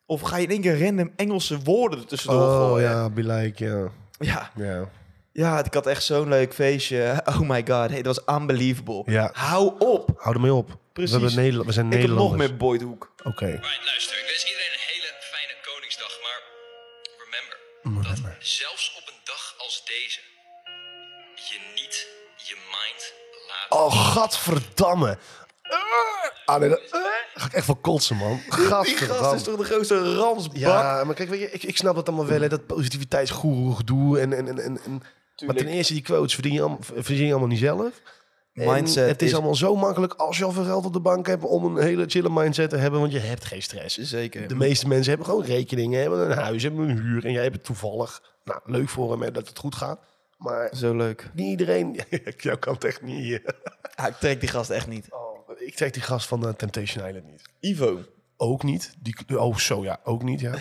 Of ga je in één keer random Engelse woorden er tussendoor
Oh
gooien.
ja, be like, ja.
ja.
Ja.
Ja, ik had echt zo'n leuk feestje. Oh my god, hey, dat was unbelievable.
Ja.
Hou op.
Hou ermee op.
Precies.
We, hebben Nederla- we zijn
Ik heb nog
Nederlanders.
meer Boyd Hoek.
Oké.
Right, luister, ik wens iedereen een hele fijne Koningsdag, maar remember, dat zelfs op een dag als deze je niet je mind laat.
Oh, gadverdamme. Ah, nee, dat, ga ik echt van kotsen, man.
Die gast is
Gadverdamme.
toch de grootste ransbak?
Ja, maar kijk, weet je, ik, ik snap dat allemaal wel, hè, dat positiviteitsgoeroe gedoe en... en, en, en, en maar ten eerste, die quotes verdien je, allemaal, verdien je allemaal niet zelf. En
Mindset
het is,
is-
allemaal zo makkelijk als je al veel geld op de bank hebt om een hele chille mindset te hebben, want je hebt geen stress.
Zeker.
De meeste mensen hebben gewoon rekeningen, hebben een huis, hebben een huur en jij hebt het toevallig. Nou, leuk voor hem hè, dat het goed gaat, maar
Zo leuk.
niet iedereen... Jouw kant echt niet.
Ah, ik trek die gast echt niet.
Oh, Ik trek die gast van de eh, Temptation Island niet.
Ivo.
ook niet. Die, oh, zo ja, ook niet, ja.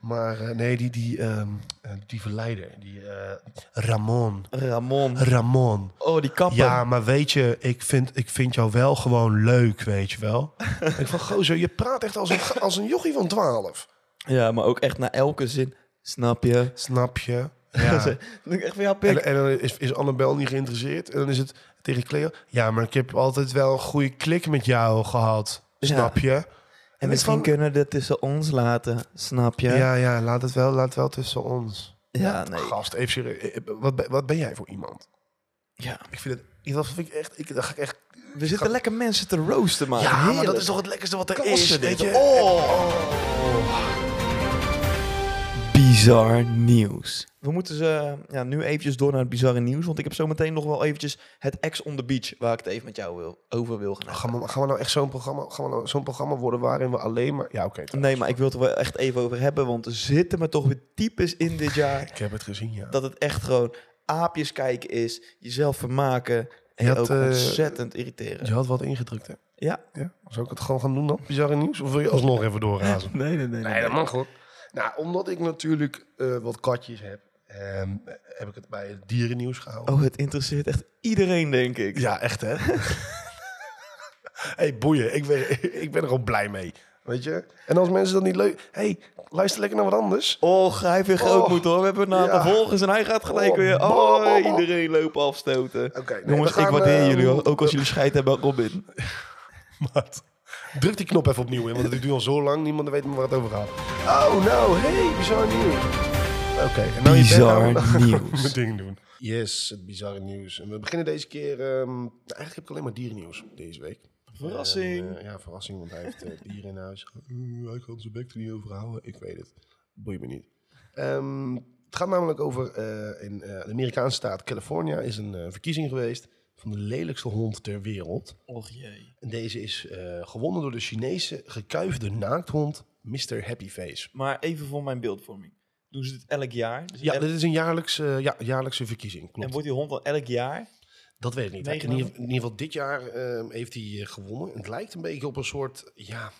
maar eh, nee, die, die, ehm, eh, die verleider, die eh, Ramon.
Ramon.
Ramon.
Oh, die kapper.
Ja, maar weet je, ik vind, ik vind jou wel gewoon leuk, weet je wel. ik van, gozer, je praat echt als een, als een jochie van 12.
Ja, maar ook echt na elke zin. Snap je?
Snap je? Ja.
Dan denk ik echt van, ja, pik.
En, en dan is, is Annabel niet geïnteresseerd. En dan is het tegen Cleo. Ja, maar ik heb altijd wel een goede klik met jou gehad. Snap je?
En
het is
misschien
gewoon-
kunnen we dit tussen ons laten. Snap je?
Ja, ja, laat het wel, laat het wel tussen ons.
Ja, nee.
Gast, even serieus. Eh, Wat, ben- wat ben jij voor iemand?
Ja.
Ik vind het, dat vind ik echt, ik, dat ga ik echt...
We zitten lekker mensen te roosten, man.
Ja, maar dat
Heerlijk.
is toch het lekkerste wat er
Kassen
is,
dit.
weet je?
Oh. Bizar nieuws. We moeten ze ja, nu eventjes door naar het bizarre nieuws. Want ik heb zometeen nog wel eventjes het ex on the beach. Waar ik het even met jou wil, over wil gaan.
Gaan we, gaan we nou echt zo'n programma, gaan we nou zo'n programma worden waarin we alleen maar... Ja, oké.
hebben. Nee, maar ik wil het er wel echt even over hebben. Want er zitten me toch weer types in dit jaar.
ik heb het gezien, ja.
Dat het echt gewoon aapjes kijken is. Jezelf vermaken. En
Je
je
had,
ook
eh,
ontzettend irriteren.
Je had wat ingedrukt, hè?
Ja.
Ja. Zou ik het gewoon gaan doen dan? Bizarre nieuws? Of wil je alsnog even doorrazen?
Nee, nee, nee.
Nee, dat mag hoor. Nou, omdat ik natuurlijk eh, wat katjes heb, ehm, heb ik het bij het dierennieuws gehouden.
Oh, het interesseert echt iedereen, denk ik.
Ja, echt hè? hey, boeien. Ik ben, ik ben er ook blij mee. Weet je? En als mensen dat niet leuk... hey, luister lekker naar wat anders.
Oh, hij heeft weer grootmoed
Oh,
hoor. We hebben een aantal
ja.
volgers en hij gaat gelijk
Oh,
weer...
bah, bah,
Oh,
bah.
iedereen lopen afstoten.
Oké, nee,
Jongens,
we gaan,
ik waardeer
eh,
jullie hoor. Ook als jullie scheid hebben aan Robin.
Maat, Druk die knop even opnieuw in, want het duurt al zo lang. Niemand weet meer waar het over gaat. Oh, nou, hey, bizar nieuws. Oké, en nou je bek houden.
nieuws.
mijn ding doen. Yes, het bizarre nieuws. En we beginnen deze keer... ehm, nou, eigenlijk heb ik alleen maar dierennieuws deze week.
Verrassing.
En, eh, ja, verrassing, want hij heeft eh, dieren in huis. Uh, hij kan zijn bek er niet over houden. Ik weet het. Boeit me niet. Ehm, het gaat namelijk over... eh, in eh, de Amerikaanse staat California is een eh, verkiezing geweest... van de lelijkste hond ter wereld.
Och jee.
En deze is eh, gewonnen door de Chinese gekuifde naakthond Mr. Happy Face.
Maar even voor mijn beeldvorming. Doen ze dit elk jaar? Dus
Ja,
elk-
dit is een jaarlijkse, ja, jaarlijkse verkiezing. Klopt.
en wordt die hond dan elk jaar?
Dat weet ik niet. In
Meegenomen?
ieder, in ieder geval dit jaar ehm, heeft hij eh, gewonnen. Het lijkt een beetje op een soort, ja,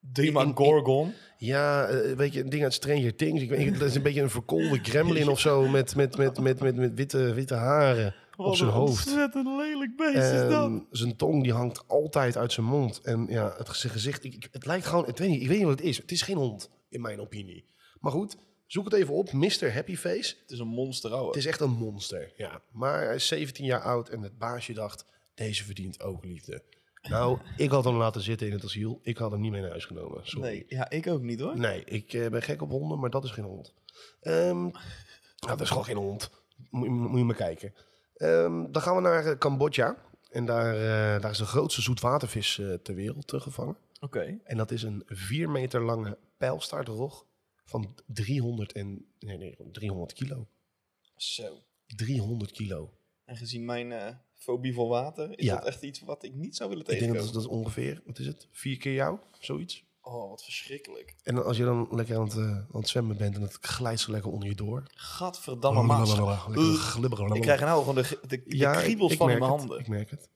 Demagorgon.
ja eh, weet je, een ding uit Stranger Things. Ik weet, niet, dat is een beetje een verkoolde gremlin of zo met, met, met, met, met, met witte, witte haren op zijn hoofd.
ontzettend lelijk beest is dat.
Ehm, zijn tong die hangt altijd uit zijn mond. En ja, het, zijn gezicht, ik, ik- het lijkt gewoon, ik weet, niet, ik weet niet wat het is. Het is geen hond, in mijn opinie. Maar goed, zoek het even op, Mr. Happy Face.
Het is een monster ouwe.
Het is echt een monster, ja. Maar hij is 17 jaar oud en het baasje dacht, deze verdient ook liefde. Nou, ik had hem laten zitten in het asiel. Ik had hem niet mee naar huis genomen. Sorry.
Nee,
Nee,
ja, ik ook niet hoor.
ik eh, ben gek op honden, maar dat is geen hond. Ehm, nou, dat is gewoon geen hond. Moet, je- moet je maar kijken. Ehm, dan gaan we naar eh, Cambodja. En daar, eh, daar is de grootste zoetwatervis eh, ter wereld eh, gevangen.
Oké.
En dat is een 4 meter lange pijlstaartrog van 300, en, nee, nee, 300 kilo.
Zo.
300 kilo.
En gezien mijn eh, fobie voor water, is
Ja.
dat echt iets wat ik niet zou willen
Ik denk
tegenkomen.
dat is- dat is ongeveer, wat is het? Vier keer jou, zoiets.
Oh, wat verschrikkelijk.
En dan als je dan lekker aan het, eh, aan het zwemmen bent en het glijdt zo lekker onder je door.
Gadverdamme maas.
Lekker glibberig.
Ik krijg nou gewoon de, de, de
Ja,
kriebels
ik
van in
merk
mijn
het,
handen.
Ik merk het.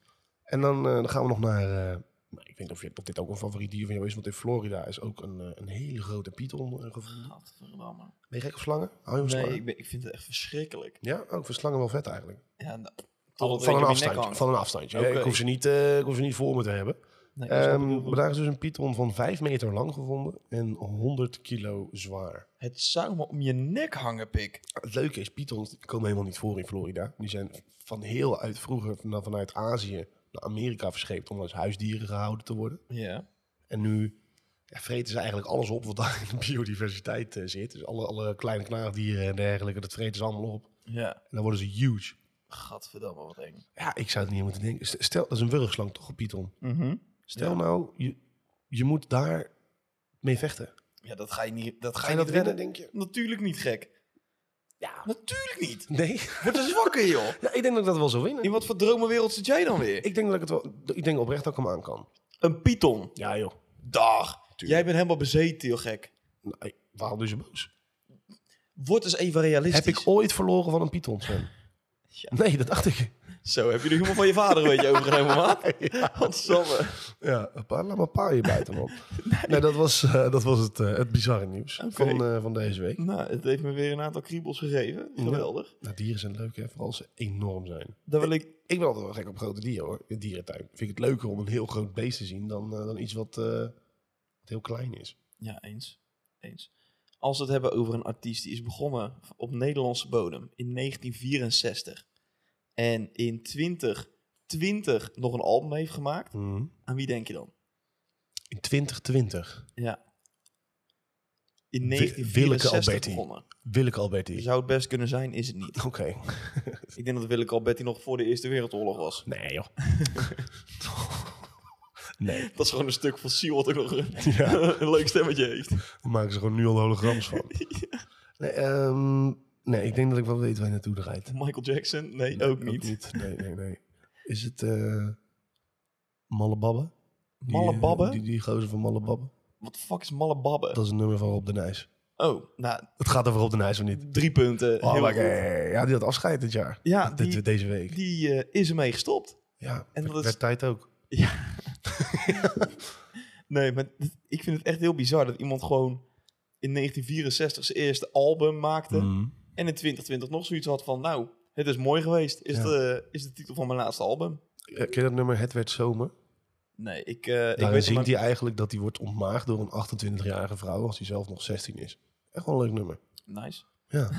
En dan, eh, dan gaan we nog naar, eh, nou, ik weet niet of, je, of dit ook een favoriet dier van jou is, want in Florida is ook een, eh, een hele grote python eh, gevonden.
Gadverdamme.
Ben je gek op slangen? Hou je van
Nee,
slangen?
ik, ben, ik vind het echt verschrikkelijk.
Ja, ook ik vind slangen wel vet eigenlijk.
Ja, nou,
Van,
totdat
van
er in
een
mijn nek
afstandje.
hangt.
Van een afstandje.
Oké.
Ik, hoef ze niet, eh, ik hoef ze niet voor me te hebben.
Nee, dat snap ik heel
Ehm
goed.
maar daar is dus een python van 5 meter lang gevonden en 100 kilo zwaar.
Het zou me om je nek hangen, pik.
Het leuke is, pythons die komen helemaal niet voor in Florida. Die zijn van heel uit vroeger van- vanuit Azië naar Amerika verscheept om als huisdieren gehouden te worden.
Ja.
En nu ja, vreten ze eigenlijk alles op wat daar in de biodiversiteit eh, zit. Dus alle, alle kleine knaagdieren en dergelijke, dat vreten ze allemaal op.
Ja.
En dan worden ze huge.
Gadverdamme, wat eng.
Ja, ik zou het niet aan moeten denken. Stel, dat is een wurgslang toch, een python? Stel
Ja.
nou, je, je moet daar mee vechten.
Ja, dat ga je niet, dat ga
Ga
je
je dat
niet
winnen,
redden.
denk je?
Natuurlijk niet, gek. Ja. Natuurlijk niet.
Nee.
Word eens wakker, joh.
Ja, ik denk dat ik dat wel zou winnen.
In wat voor dromenwereld zit jij dan weer?
Ik denk dat ik het wel. Ik denk oprecht dat ik hem aan kan.
Een python.
Ja, joh.
Dag. Jij bent helemaal bezeten, joh, gek.
Nee, waarom doe je zo boos?
Word eens even realistisch.
Heb ik ooit verloren van een Python, Sven?
Ja.
Nee, dat dacht ik.
Zo, heb je de humor van je vader een beetje overgenomen, maat? Wat samme.
Ja, pa, laat maar pa je buiten, man. nee. dat was, eh, dat was het, eh, het bizarre nieuws van, eh, van deze week.
Nou, het heeft me weer een aantal kriebels gegeven. Geweldig.
Nou, dieren zijn leuk, hè? Vooral als ze enorm zijn.
Daar wil ik...
Ik ben altijd wel gek op grote dieren, hoor. In dierentuin. Vind ik het leuker om een heel groot beest te zien dan, eh, dan iets wat, eh, wat heel klein is.
Ja, eens. Eens. Als we het hebben over een artiest die is begonnen op Nederlandse bodem in 1964. En in 2020 nog een album heeft gemaakt.
Mhm.
Aan wie denk je dan?
In 2020.
Ja. In
Wi-
1964
Willeke Alberti.
begonnen.
Willeke Alberti.
Zou het best kunnen zijn, is het niet.
Oké.
Ik denk dat Willeke Alberti nog voor de Eerste Wereldoorlog was.
Nee, joh. nee.
Dat is gewoon een stuk fossiel wat ook nog een,
Ja.
een leuk stemmetje heeft.
Daar maken ze gewoon nu al holograms van. Nee, ehm, nee, ik denk dat ik wel weet waar je naartoe draait.
Michael Jackson? Nee,
Nee,
ook niet.
Nee, nee, nee. Is het eh Malle Babbe? Die,
Malle
eh,
Babbe?
Die, die gozer van Malle Babbe.
Wat de fuck is Malle Babbe?
Dat is een nummer van Rob de Nijs.
Oh, nou,
Het gaat over Rob de Nijs of niet?
drie punten.
Oh,
Heel
maar
goed.
eh, ja, die had afscheid dit jaar.
Ja,
dit,
die-
deze week.
Die eh, is ermee gestopt.
ja,
en
en
dat
dat
is-
tijd ook.
Nee, maar dit- ik vind het echt heel bizar dat iemand gewoon in 1964 zijn eerste album maakte.
Mm.
En in 2020 nog zoiets had van, nou, het is mooi geweest. Is,
Ja.
de, is de titel van mijn laatste album?
Eh, Ken je dat nummer Het werd zomer?
Nee, ik, eh ik
Daarin
weet
zingt
het
hij eigenlijk dat hij wordt ontmaagd door een 28-jarige vrouw als hij zelf nog 16 is. Echt wel een leuk nummer.
Nice.
Ja.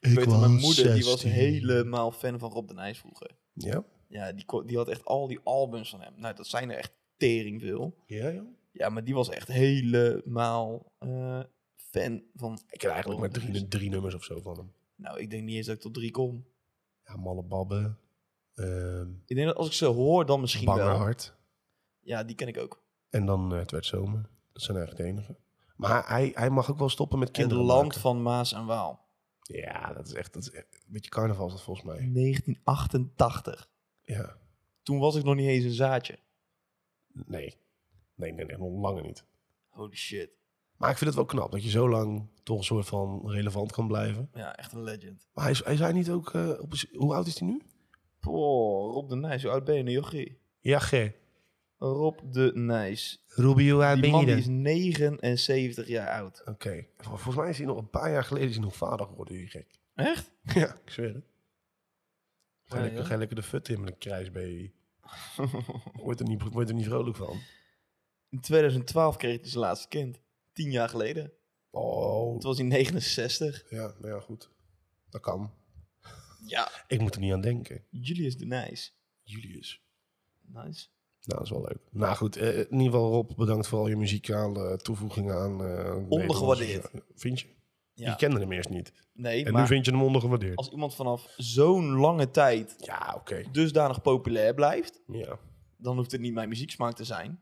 Ik, weet dat mijn moeder, die was helemaal fan van Rob de Nijs vroeger.
Ja?
Ja, die, ko- die had echt al die albums van hem. Nou, dat zijn er echt tering veel.
Ja, ja.
Ja, maar die was echt helemaal eh, fan van...
Ik ken eigenlijk maar
Rob de Nijs.
drie, drie nummers of zo van hem.
Nou, ik denk niet eens dat ik tot drie kom.
Ja, Malle Babbe. ehm
Ik denk dat als ik ze hoor, dan misschien
Bange
wel.
Hart.
Ja, die ken ik ook.
En dan eh, Het werd zomer. Dat zijn eigenlijk de enige. Maar hij, hij mag ook wel stoppen met
Het
kinderen
land
maken.
van Maas en Waal.
Ja, dat is echt, dat is echt een beetje carnaval is dat volgens mij.
1988.
Ja.
Toen was ik nog niet eens een zaadje.
Nee. Nee, nee, nee, nog langer niet.
Holy shit.
Maar ik vind het wel knap dat je zo lang toch een soort van relevant kan blijven.
Ja, echt een legend.
Maar hij, is- hij zei niet ook, eh, op, een- hoe oud is hij nu?
Poh, Rob de Nijs, hoe oud ben je nu, jochie?
Ja, ge.
Rob de Nijs.
Rubio, hoe oud
Die man die is 79 jaar oud.
Oké. Vol- Volgens mij is hij nog een paar jaar geleden is hij nog vader geworden, die gek.
Echt?
ja, ik zweer het.
Oh,
Ga je
Ja,
lekker,
ja.
ga je lekker de fut in met een krijsbaby. Word er, niet, word er niet vrolijk van.
In 2012 kreeg hij zijn laatste kind. Tien jaar geleden.
Oh,
Toen was hij 69.
ja, nou ja, goed. Dat kan.
Ja.
Ik moet er niet aan denken.
Julius de Nijs.
Julius.
Nice.
Nou, dat is wel leuk. Nou goed, eh, in ieder geval Rob, bedankt voor al je muzikale toevoegingen aan... eh,
Ondergewaardeerd.
Nederlandse- Vind je?
Ja.
Je kende hem eerst niet.
Nee,
En
maar
nu vind je hem ondergewaardeerd.
als iemand vanaf zo'n lange tijd
Ja, oké.
dusdanig populair blijft,
Ja.
dan hoeft het niet mijn muzieksmaak te zijn.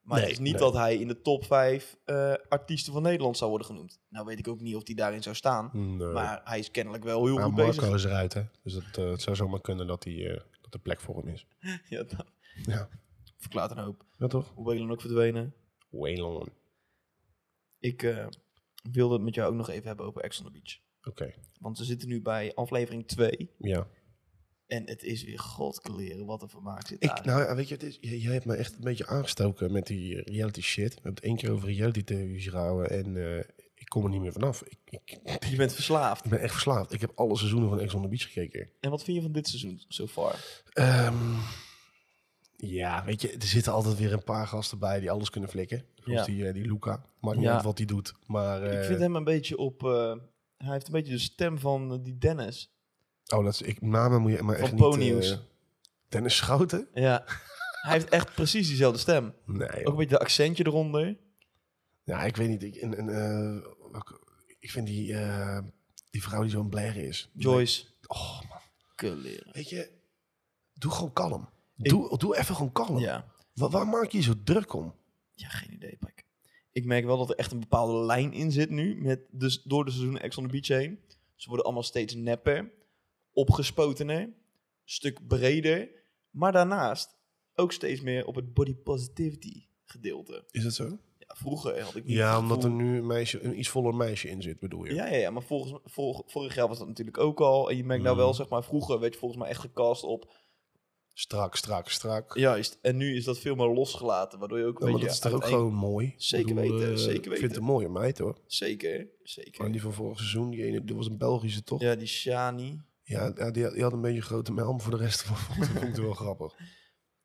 Maar het
Nee,
is niet
nee.
dat hij in de top 5 eh, artiesten van Nederland zou worden genoemd. Nou weet ik ook niet of hij daarin zou staan.
Nee.
Maar hij is kennelijk wel heel
Hmm, eh, Maar
goed
Marco
bezig.
is eruit, hè. Dus dat, eh, het zou zomaar kunnen dat, hij, eh, dat er plek voor hem is.
Ja, dat
Ja,
verklaart een hoop.
ja toch?
Hoe ben je dan ook verdwenen?
Waylon. Oké.
Ik eh, wilde het met jou ook nog even hebben over Ex on the Beach. Want we zitten nu bij aflevering 2.
Ja.
En het is weer godkleren wat er vermaak zit
Ik,
daar.
nou ja, weet je, het is, jij, jij hebt me echt een beetje aangestoken met die eh, reality shit. We hebben het één keer over reality televisie gehouden en eh, ik kom er niet meer vanaf. Ik, ik,
Je bent verslaafd.
ik ben echt verslaafd. Ik heb alle seizoenen van Ex on the Beach gekeken.
En wat vind je van dit seizoen so far?
Ehm, ja, weet je, er zitten altijd weer een paar gasten bij die alles kunnen flikken. Zoals
Ja.
die, eh, die Luca. Maakt niet
Ja.
uit wat hij doet. Maar, eh,
ik vind hem een beetje op... eh, hij heeft een beetje de stem van eh, die Dennis.
Oh, dat is, ik, namen moet je maar
Van
echt niet...
Ponyhoes.
eh, Dennis Schouten?
Ja. Hij heeft echt precies diezelfde stem.
Nee.
Ook een
joh.
beetje de accentje eronder.
Ja, ik weet niet. Ik, en, en, eh, welke- ik vind die, eh, die vrouw die zo'n blair is.
Joyce.
Oh, man.
Kunnen leren.
Weet je, doe gewoon kalm. Doe, doe even gewoon kalm.
Ja.
Wa- waar maak je je zo druk om?
Ja, geen idee, Pik. Ik merk wel dat er echt een bepaalde lijn in zit nu. Met dus door de seizoen Ex on the Beach heen. Ze worden allemaal steeds nepper. Opgespotener. Stuk breder. Maar daarnaast ook steeds meer op het body positivity gedeelte.
Is dat zo?
Ja, vroeger had ik niet
Ja,
het
omdat er
gevoel-
nu een, meisje, een iets voller meisje in zit, bedoel je?
Ja, ja, ja, maar volgens, vol- vorig jaar was dat natuurlijk ook al. En je merkt nou
Mhm.
wel, zeg maar, vroeger werd je volgens mij echt gecast op...
Strak, strak, strak.
Juist, en nu is dat veel meer losgelaten, waardoor je ook...
Ja,
een
maar
beetje
dat is toch ook
uiteen-
gewoon mooi? Ik
Zeker weten,
eh,
zeker
Ik
weten.
vind het een mooie meid hoor.
Zeker, zeker.
Maar die van vorig seizoen, die ene, die was een Belgische toch? Ja,
Ja, die Shani.
ja, die, had, die had een beetje een grote melm voor de rest van vond ik het wel grappig.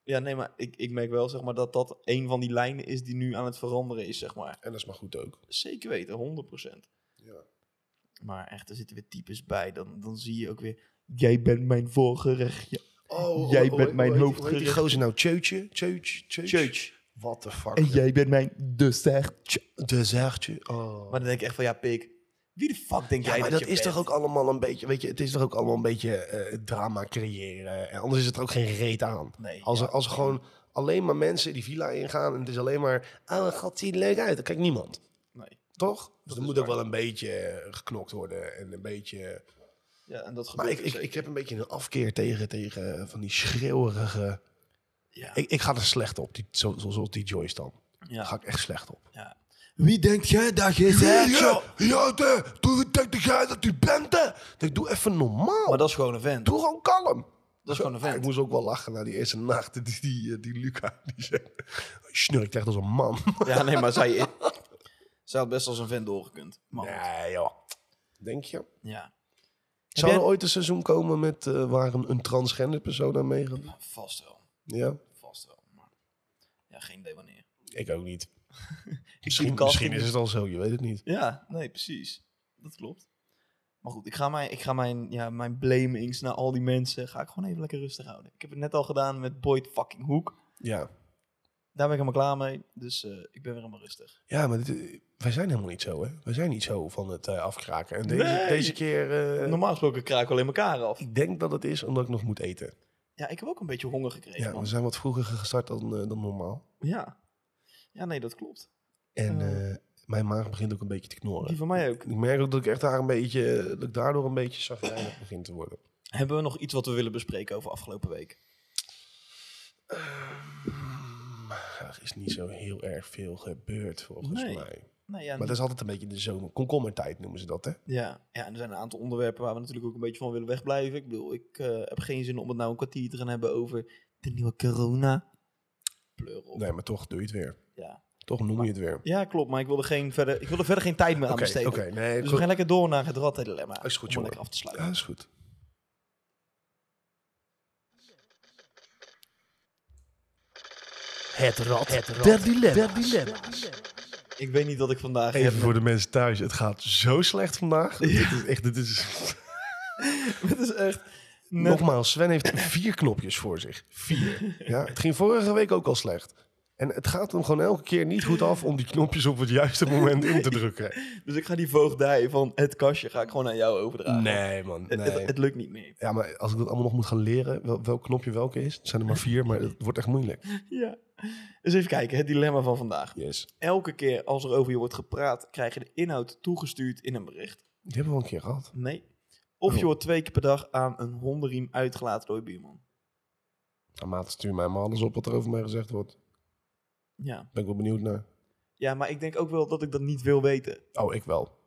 Ja, nee, maar ik, ik merk wel, zeg maar, dat dat een van die lijnen is die nu aan het veranderen is, zeg maar.
En dat is maar goed ook.
Zeker weten, 100%.
Ja.
Maar echt, er zitten weer types bij. Dan, dan zie je ook weer... Jij bent mijn voorgerechtje.
Oh,
Jij
oh, oh,
bent
oh,
mijn
hoe heet-
hoofdgerecht.
hoe heet Die gozer nou, Tjeutje? Tjeutje? Tjeutje?
Church.
What the fuck?
En jij bent mijn de
Oh.
ster.
De zaagtje. Oh.
Dus Maar dan denk ik echt van, ja, pik. Wie de fuck denk
Ja,
jij
maar
dat,
dat,
je
is
bent?
toch ook allemaal een beetje, weet je, het is toch ook allemaal een beetje eh, drama creëren. En anders is het er ook geen reet aan.
Nee,
als,
ja.
er, als er gewoon alleen maar mensen die villa ingaan en het is alleen maar, oh mijn god, ziet er leuk uit. Dan kijkt niemand,
Nee.
toch? Dus
is
er moet
waar.
ook wel een beetje eh, geknokt worden en een beetje...
Ja, en dat
Maar
gebeurt
ik, ik, ik heb een beetje een afkeer tegen, tegen eh, van die schreeuwerige...
ja,
Ik, ik ga er slecht op, die, zo, zo- zoals die Joyce dan.
ja,
Daar ga ik echt slecht op.
ja. Wie denkt jij dat je
Ja, ja, de, doe denk jij dat u bent, hè? Ik denk, Doe even normaal.
Maar dat is gewoon een vent.
Doe gewoon kalm.
Dat is gewoon een
Ja, ik
vent.
moest ook wel lachen na die eerste nacht. Die, die, eh, die Luca, die zei... Snurkt echt als een man.
Ja, nee, maar zij, zij had best als een vent doorgekund. Maar goed,
Nee, joh. Denk je?
ja,
Zou
jij-
er ooit een seizoen komen met, eh, waar een, een transgender persoon aan meegaat?
vast wel.
Ja?
Vast wel. Maar ja, geen idee wanneer.
Ik ook niet.
zie
Misschien,
de casting
misschien is het al zo, je weet het niet.
Ja, nee, precies. Dat klopt. Maar goed, ik ga mijn, ik ga mijn, ja, mijn blamings naar al die mensen... ga ik gewoon even lekker rustig houden. Ik heb het net al gedaan met Boyd fucking Hoek.
Ja.
Daar ben ik helemaal klaar mee. Dus eh, ik ben weer helemaal rustig.
Ja, maar dit- wij zijn helemaal niet zo, hè? Wij zijn niet zo van het eh, afkraken. En deze,
Nee.
deze keer... eh,
Normaal gesproken kraak ik alleen elkaar af.
ik denk dat het is omdat ik nog moet eten.
Ja, ik heb ook een beetje honger gekregen.
Ja,
man.
we zijn wat vroeger gestart dan, eh, dan normaal.
Ja. Ja, nee, dat klopt.
En
Eh.
eh, mijn maag begint ook een beetje te knorren.
Die van mij ook.
Ik merk ook dat ik echt daar een beetje, eh, dat ik daardoor een beetje chagrijnig begin te worden.
Hebben we nog iets wat we willen bespreken over afgelopen week? Ehm.
Er is niet zo heel erg veel gebeurd volgens
Nee.
mij.
Nou ja,
Maar dat is altijd een beetje de zomer. Komkommertijd noemen ze dat, hè?
ja. ja, en er zijn een aantal onderwerpen waar we natuurlijk ook een beetje van willen wegblijven. Ik bedoel, ik eh, heb geen zin om het nou een kwartier te gaan hebben over de nieuwe corona. Pleur op.
Nee, maar toch doe je het weer.
Ja.
Toch noem je het weer.
ja, klopt, maar ik wil er, geen verder, ik wil er verder geen tijd meer aan
Oké, oké.
besteden.
nee,
Dus we
goed.
gaan lekker door naar het rattendilemma.
Is goed,
om
jongen.
lekker af te sluiten.
Ja, is goed. Het rad. Het rad.
Ik weet niet dat ik vandaag...
Even
heb.
voor de mensen thuis. Het gaat zo slecht vandaag. Dit is echt, dit is...
Het is echt... net-
Nogmaals, Sven heeft vier knopjes voor zich. Vier. Ja, het ging vorige week ook al slecht. En het gaat hem gewoon elke keer niet goed af om die knopjes op het juiste moment in te drukken.
Dus ik ga die voogdij van het kastje ga ik gewoon aan jou overdragen.
Nee, man.
Het- Het, het lukt niet meer.
Ja, maar als ik dat allemaal nog moet gaan leren, wel, welk knopje welke is, het zijn er maar vier, maar het wordt echt moeilijk.
Ja. Dus even kijken, het dilemma van vandaag.
Yes.
Elke keer als er over je wordt gepraat, krijg je de inhoud toegestuurd in een bericht.
Die hebben we al een keer gehad.
Nee. Of je
Oh.
wordt twee keer per dag aan een hondenriem uitgelaten door je buurman.
Nou, maat, stuur mij maar alles op wat er over mij gezegd wordt.
Ja.
Ben ik wel benieuwd naar.
ja, maar ik denk ook wel dat ik dat niet wil weten.
Oh, ik wel.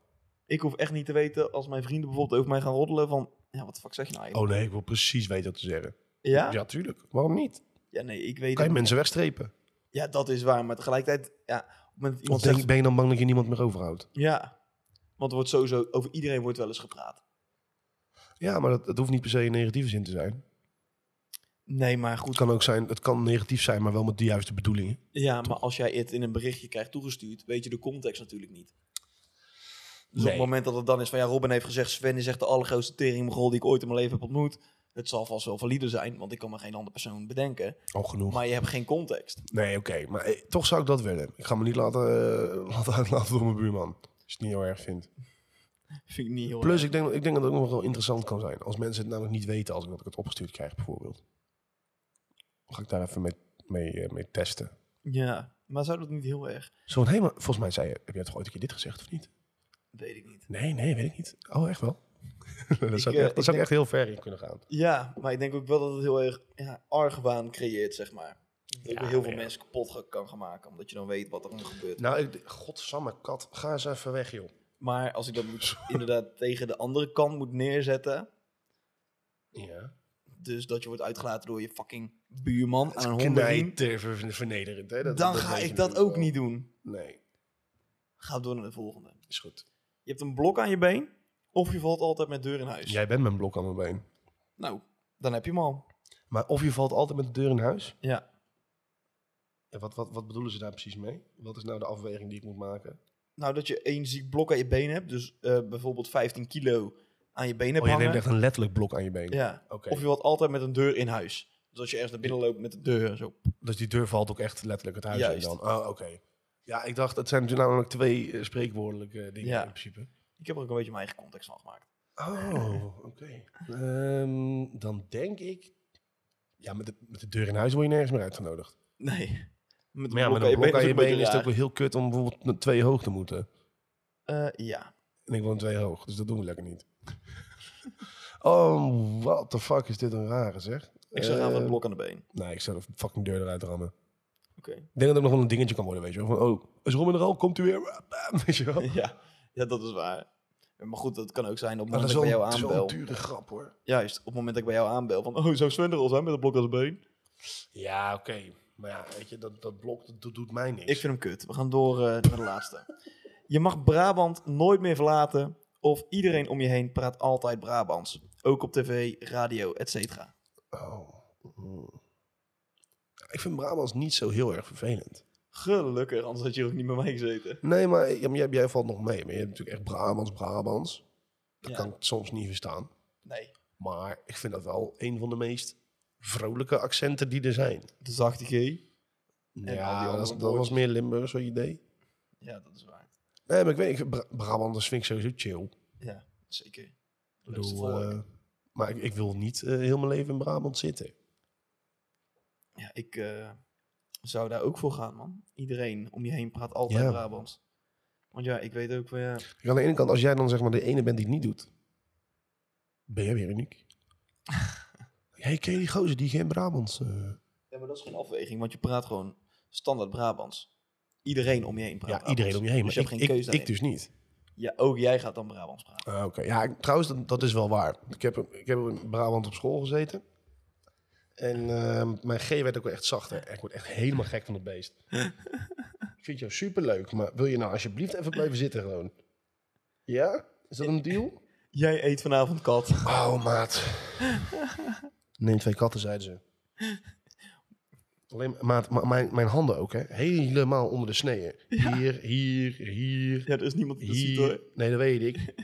Ik hoef echt niet te weten als mijn vrienden bijvoorbeeld over mij gaan roddelen van... Ja, wat de fuck zeg je nou eigenlijk?
Oh nee, ik wil precies weten wat te zeggen.
ja? ja?
Ja, tuurlijk. Waarom niet?
nee, ik weet
Kan je
het.
mensen wegstrepen?
Ja, dat is waar. Maar tegelijkertijd, ja, op het moment dat
Of
iemand
denk,
zegt...
ben je dan bang dat je niemand meer overhoudt?
Ja. Want er wordt sowieso, over iedereen wordt wel eens gepraat.
Ja, maar dat, dat hoeft niet per se in negatieve zin te zijn.
Nee, maar goed.
Het kan ook zijn, het kan negatief zijn, maar wel met de juiste bedoelingen.
Ja, maar als jij het in een berichtje krijgt toegestuurd, weet je de context natuurlijk niet. Dus op
Nee.
het moment dat het dan is van ja, Robin heeft gezegd, Sven is echt de allergrootste teringmogol die ik ooit in mijn leven heb ontmoet. Het zal vast wel valide zijn, want ik kan me geen andere persoon bedenken.
Al genoeg.
Maar je hebt geen context.
Nee, oké. Maar eh, toch zou ik dat willen. Ik ga me niet laten, eh, laten uitlaten door mijn buurman. Als je het niet heel erg vindt.
Vind ik niet heel
Plus,
erg.
ik denk, ik denk dat het ook nog wel interessant kan zijn. Als mensen het namelijk niet weten als ik, dat ik het opgestuurd krijg, bijvoorbeeld. Dan ga ik daar even mee, mee, eh, mee testen.
Ja, maar zou dat niet heel erg?
Zo van, hé, maar volgens mij zei je, heb jij toch ooit een keer dit gezegd of niet?
Weet ik niet.
Nee, nee, weet ik niet. Oh, echt wel? dat zou,
eh,
ik, echt,
ik
dat zou ik echt heel ver in kunnen gaan.
Ja, maar ik denk ook wel dat het heel erg ja, argwaan creëert, zeg maar. heel
Ja,
veel
ja.
mensen kapot ge- kan gaan maken. Omdat je dan weet wat er nu gebeurt.
Nou, ik, godsamme kat, ga eens even weg, joh.
Maar als ik dat moet, inderdaad tegen de andere kant moet neerzetten.
Ja.
Dus dat je wordt uitgelaten door je fucking buurman aan een hondenriem.
Knijter vernederend, hè? Dat-
Dan
dat
ga
weet je
ik dat ook
natuurlijk
niet doen.
wel. Nee,
Ga door naar de volgende.
is goed.
Je hebt een blok aan je been. Of je valt altijd met deur in huis.
Jij bent mijn blok aan mijn been.
Nou, dan heb je hem al.
Maar of je valt altijd met de deur in huis?
Ja.
En wat, wat, wat bedoelen ze daar precies mee? Wat is nou de afweging die ik moet maken?
Nou, dat je één ziek blok aan je been hebt. Dus eh, bijvoorbeeld 15 kilo aan je
Oh,
been hebt hangen.
een letterlijk blok aan je been.
Ja.
Oké.
Of je valt altijd met een deur in huis. Dus als je ergens naar binnen loopt met de deur. Zo.
Dus die deur valt ook echt letterlijk het huis
Juist.
in dan? Oh, oké. Ja, ik dacht, dat zijn natuurlijk namelijk twee eh, spreekwoordelijke dingen
Ja.
in principe.
Ik heb er ook een beetje mijn eigen context van gemaakt.
Oh, oké. Ehm, dan denk ik... Ja, met de, met de deur in huis word je nergens meer uitgenodigd.
Nee. Met
Maar ja, met een blok aan
dus
je been is het ook wel heel kut om bijvoorbeeld naar twee hoog te moeten.
Eh, ja.
En ik woon twee hoog, dus dat doen we lekker niet. oh, what the fuck is dit een rare, zeg.
Ik zou gaan voor
Eh,
het blok aan de been.
Nee, ik zou de fucking deur eruit rammen.
Oké.
Ik denk dat het nog wel een dingetje kan worden, weet je wel. Van, oh, is Robin er al? Komt u weer? Weet je wel.
ja. ja, dat is waar. Maar goed, dat kan ook zijn op het
Maar dat
moment
is
dat ik bij
wel,
jou
dat is wel een
aanbel.
dure grap, hoor.
Juist, op het moment dat ik bij jou aanbel. Van, oh, zou Sven er al zijn met een blok aan de been?
Ja, oké. Maar ja, weet je, dat, dat blok dat, doet- doet mij niks.
Ik vind hem kut. We gaan door eh, naar de laatste. Je mag Brabant nooit meer verlaten. Of iedereen om je heen praat altijd Brabants. Ook op tv, radio, et cetera.
Oh. Mm. Ik vind Brabants niet zo heel erg vervelend.
Gelukkig, anders had je hier ook niet met mij gezeten.
Nee, maar ja, maar jij, jij valt nog mee. Maar je hebt natuurlijk echt Brabants, Brabants. Dat
Ja.
kan ik soms niet verstaan.
Nee.
Maar ik vind dat wel een van de meest vrolijke accenten die er zijn.
De zachte G. die andere
ja, dat, dat
woordjes.
was meer Limburg, zo'n idee.
Ja, dat is waar.
Nee, maar ik weet, ik- Bra- Brabanders vind ik sowieso chill.
Ja, zeker.
Ik
Leukste
bedoel,
volk.
eh, maar ik, ik wil niet eh, heel mijn leven in Brabant zitten.
Ja, ik eh, zou daar ook voor gaan, man. Iedereen om je heen praat altijd
Ja.
Brabants. Want ja, ik weet ook eh, van ja.
Kijk, aan de ene kant, als jij dan zeg maar de ene bent die het niet doet, ben jij weer uniek. hey, ken je die gozer die geen Brabants... eh,
Ja, maar dat is geen afweging, want je praat gewoon standaard Brabants. Iedereen om je heen praat.
ja,
Brabants.
iedereen om je heen,
Dus
maar
je
ik,
hebt geen
ik,
keuze
ik
daarin.
dus niet.
Ja, ook jij gaat dan Brabants praten.
Ah, Oké, ja, ik- trouwens, dat, dat is wel waar. Ik heb, ik heb in Brabant op school gezeten. En ehm, mijn G werd ook wel echt zachter. Ik word echt helemaal gek van het beest. ik vind jou superleuk, maar wil je nou alsjeblieft even blijven zitten gewoon? Ja? Is dat een deal?
Jij eet vanavond kat.
Oh, maat. Neem twee katten, zeiden ze. Alleen, maat, ma- mijn, mijn handen ook, hè? Helemaal onder de sneeën. Hier, hier, hier,
Ja, er is niemand die dat ziet
hier.
hoor.
Nee, dat weet ik.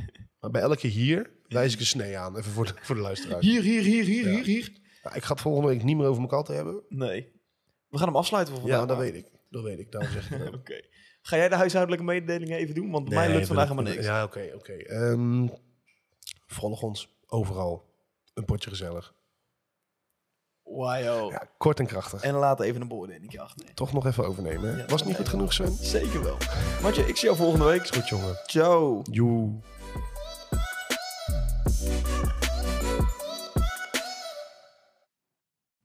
Maar bij elke hier wijs ik een snee aan. Even voor de, voor de luisteraars.
Hier, hier, hier, hier,
Ja.
hier, hier.
Nou, ik ga het volgende week niet meer over mijn katten hebben.
Nee. We gaan hem afsluiten voor vandaag.
Ja, dat
maar.
weet ik. Dat weet ik. Daarom zeg ik het
Oké.
ook.
Ga jij de huishoudelijke mededelingen even doen? Want mij lukt vandaag helemaal niks.
Ja, oké, oké. Ehm, volg ons overal. Een potje gezellig.
Wow.
Ja, kort en krachtig.
En laat even een beoordeling achter.
Toch nog even overnemen. hè? Was het niet goed genoeg, Sven?
Zeker wel. Matje, ik zie jou volgende week.
Goed, jongen.
Ciao.
Joe.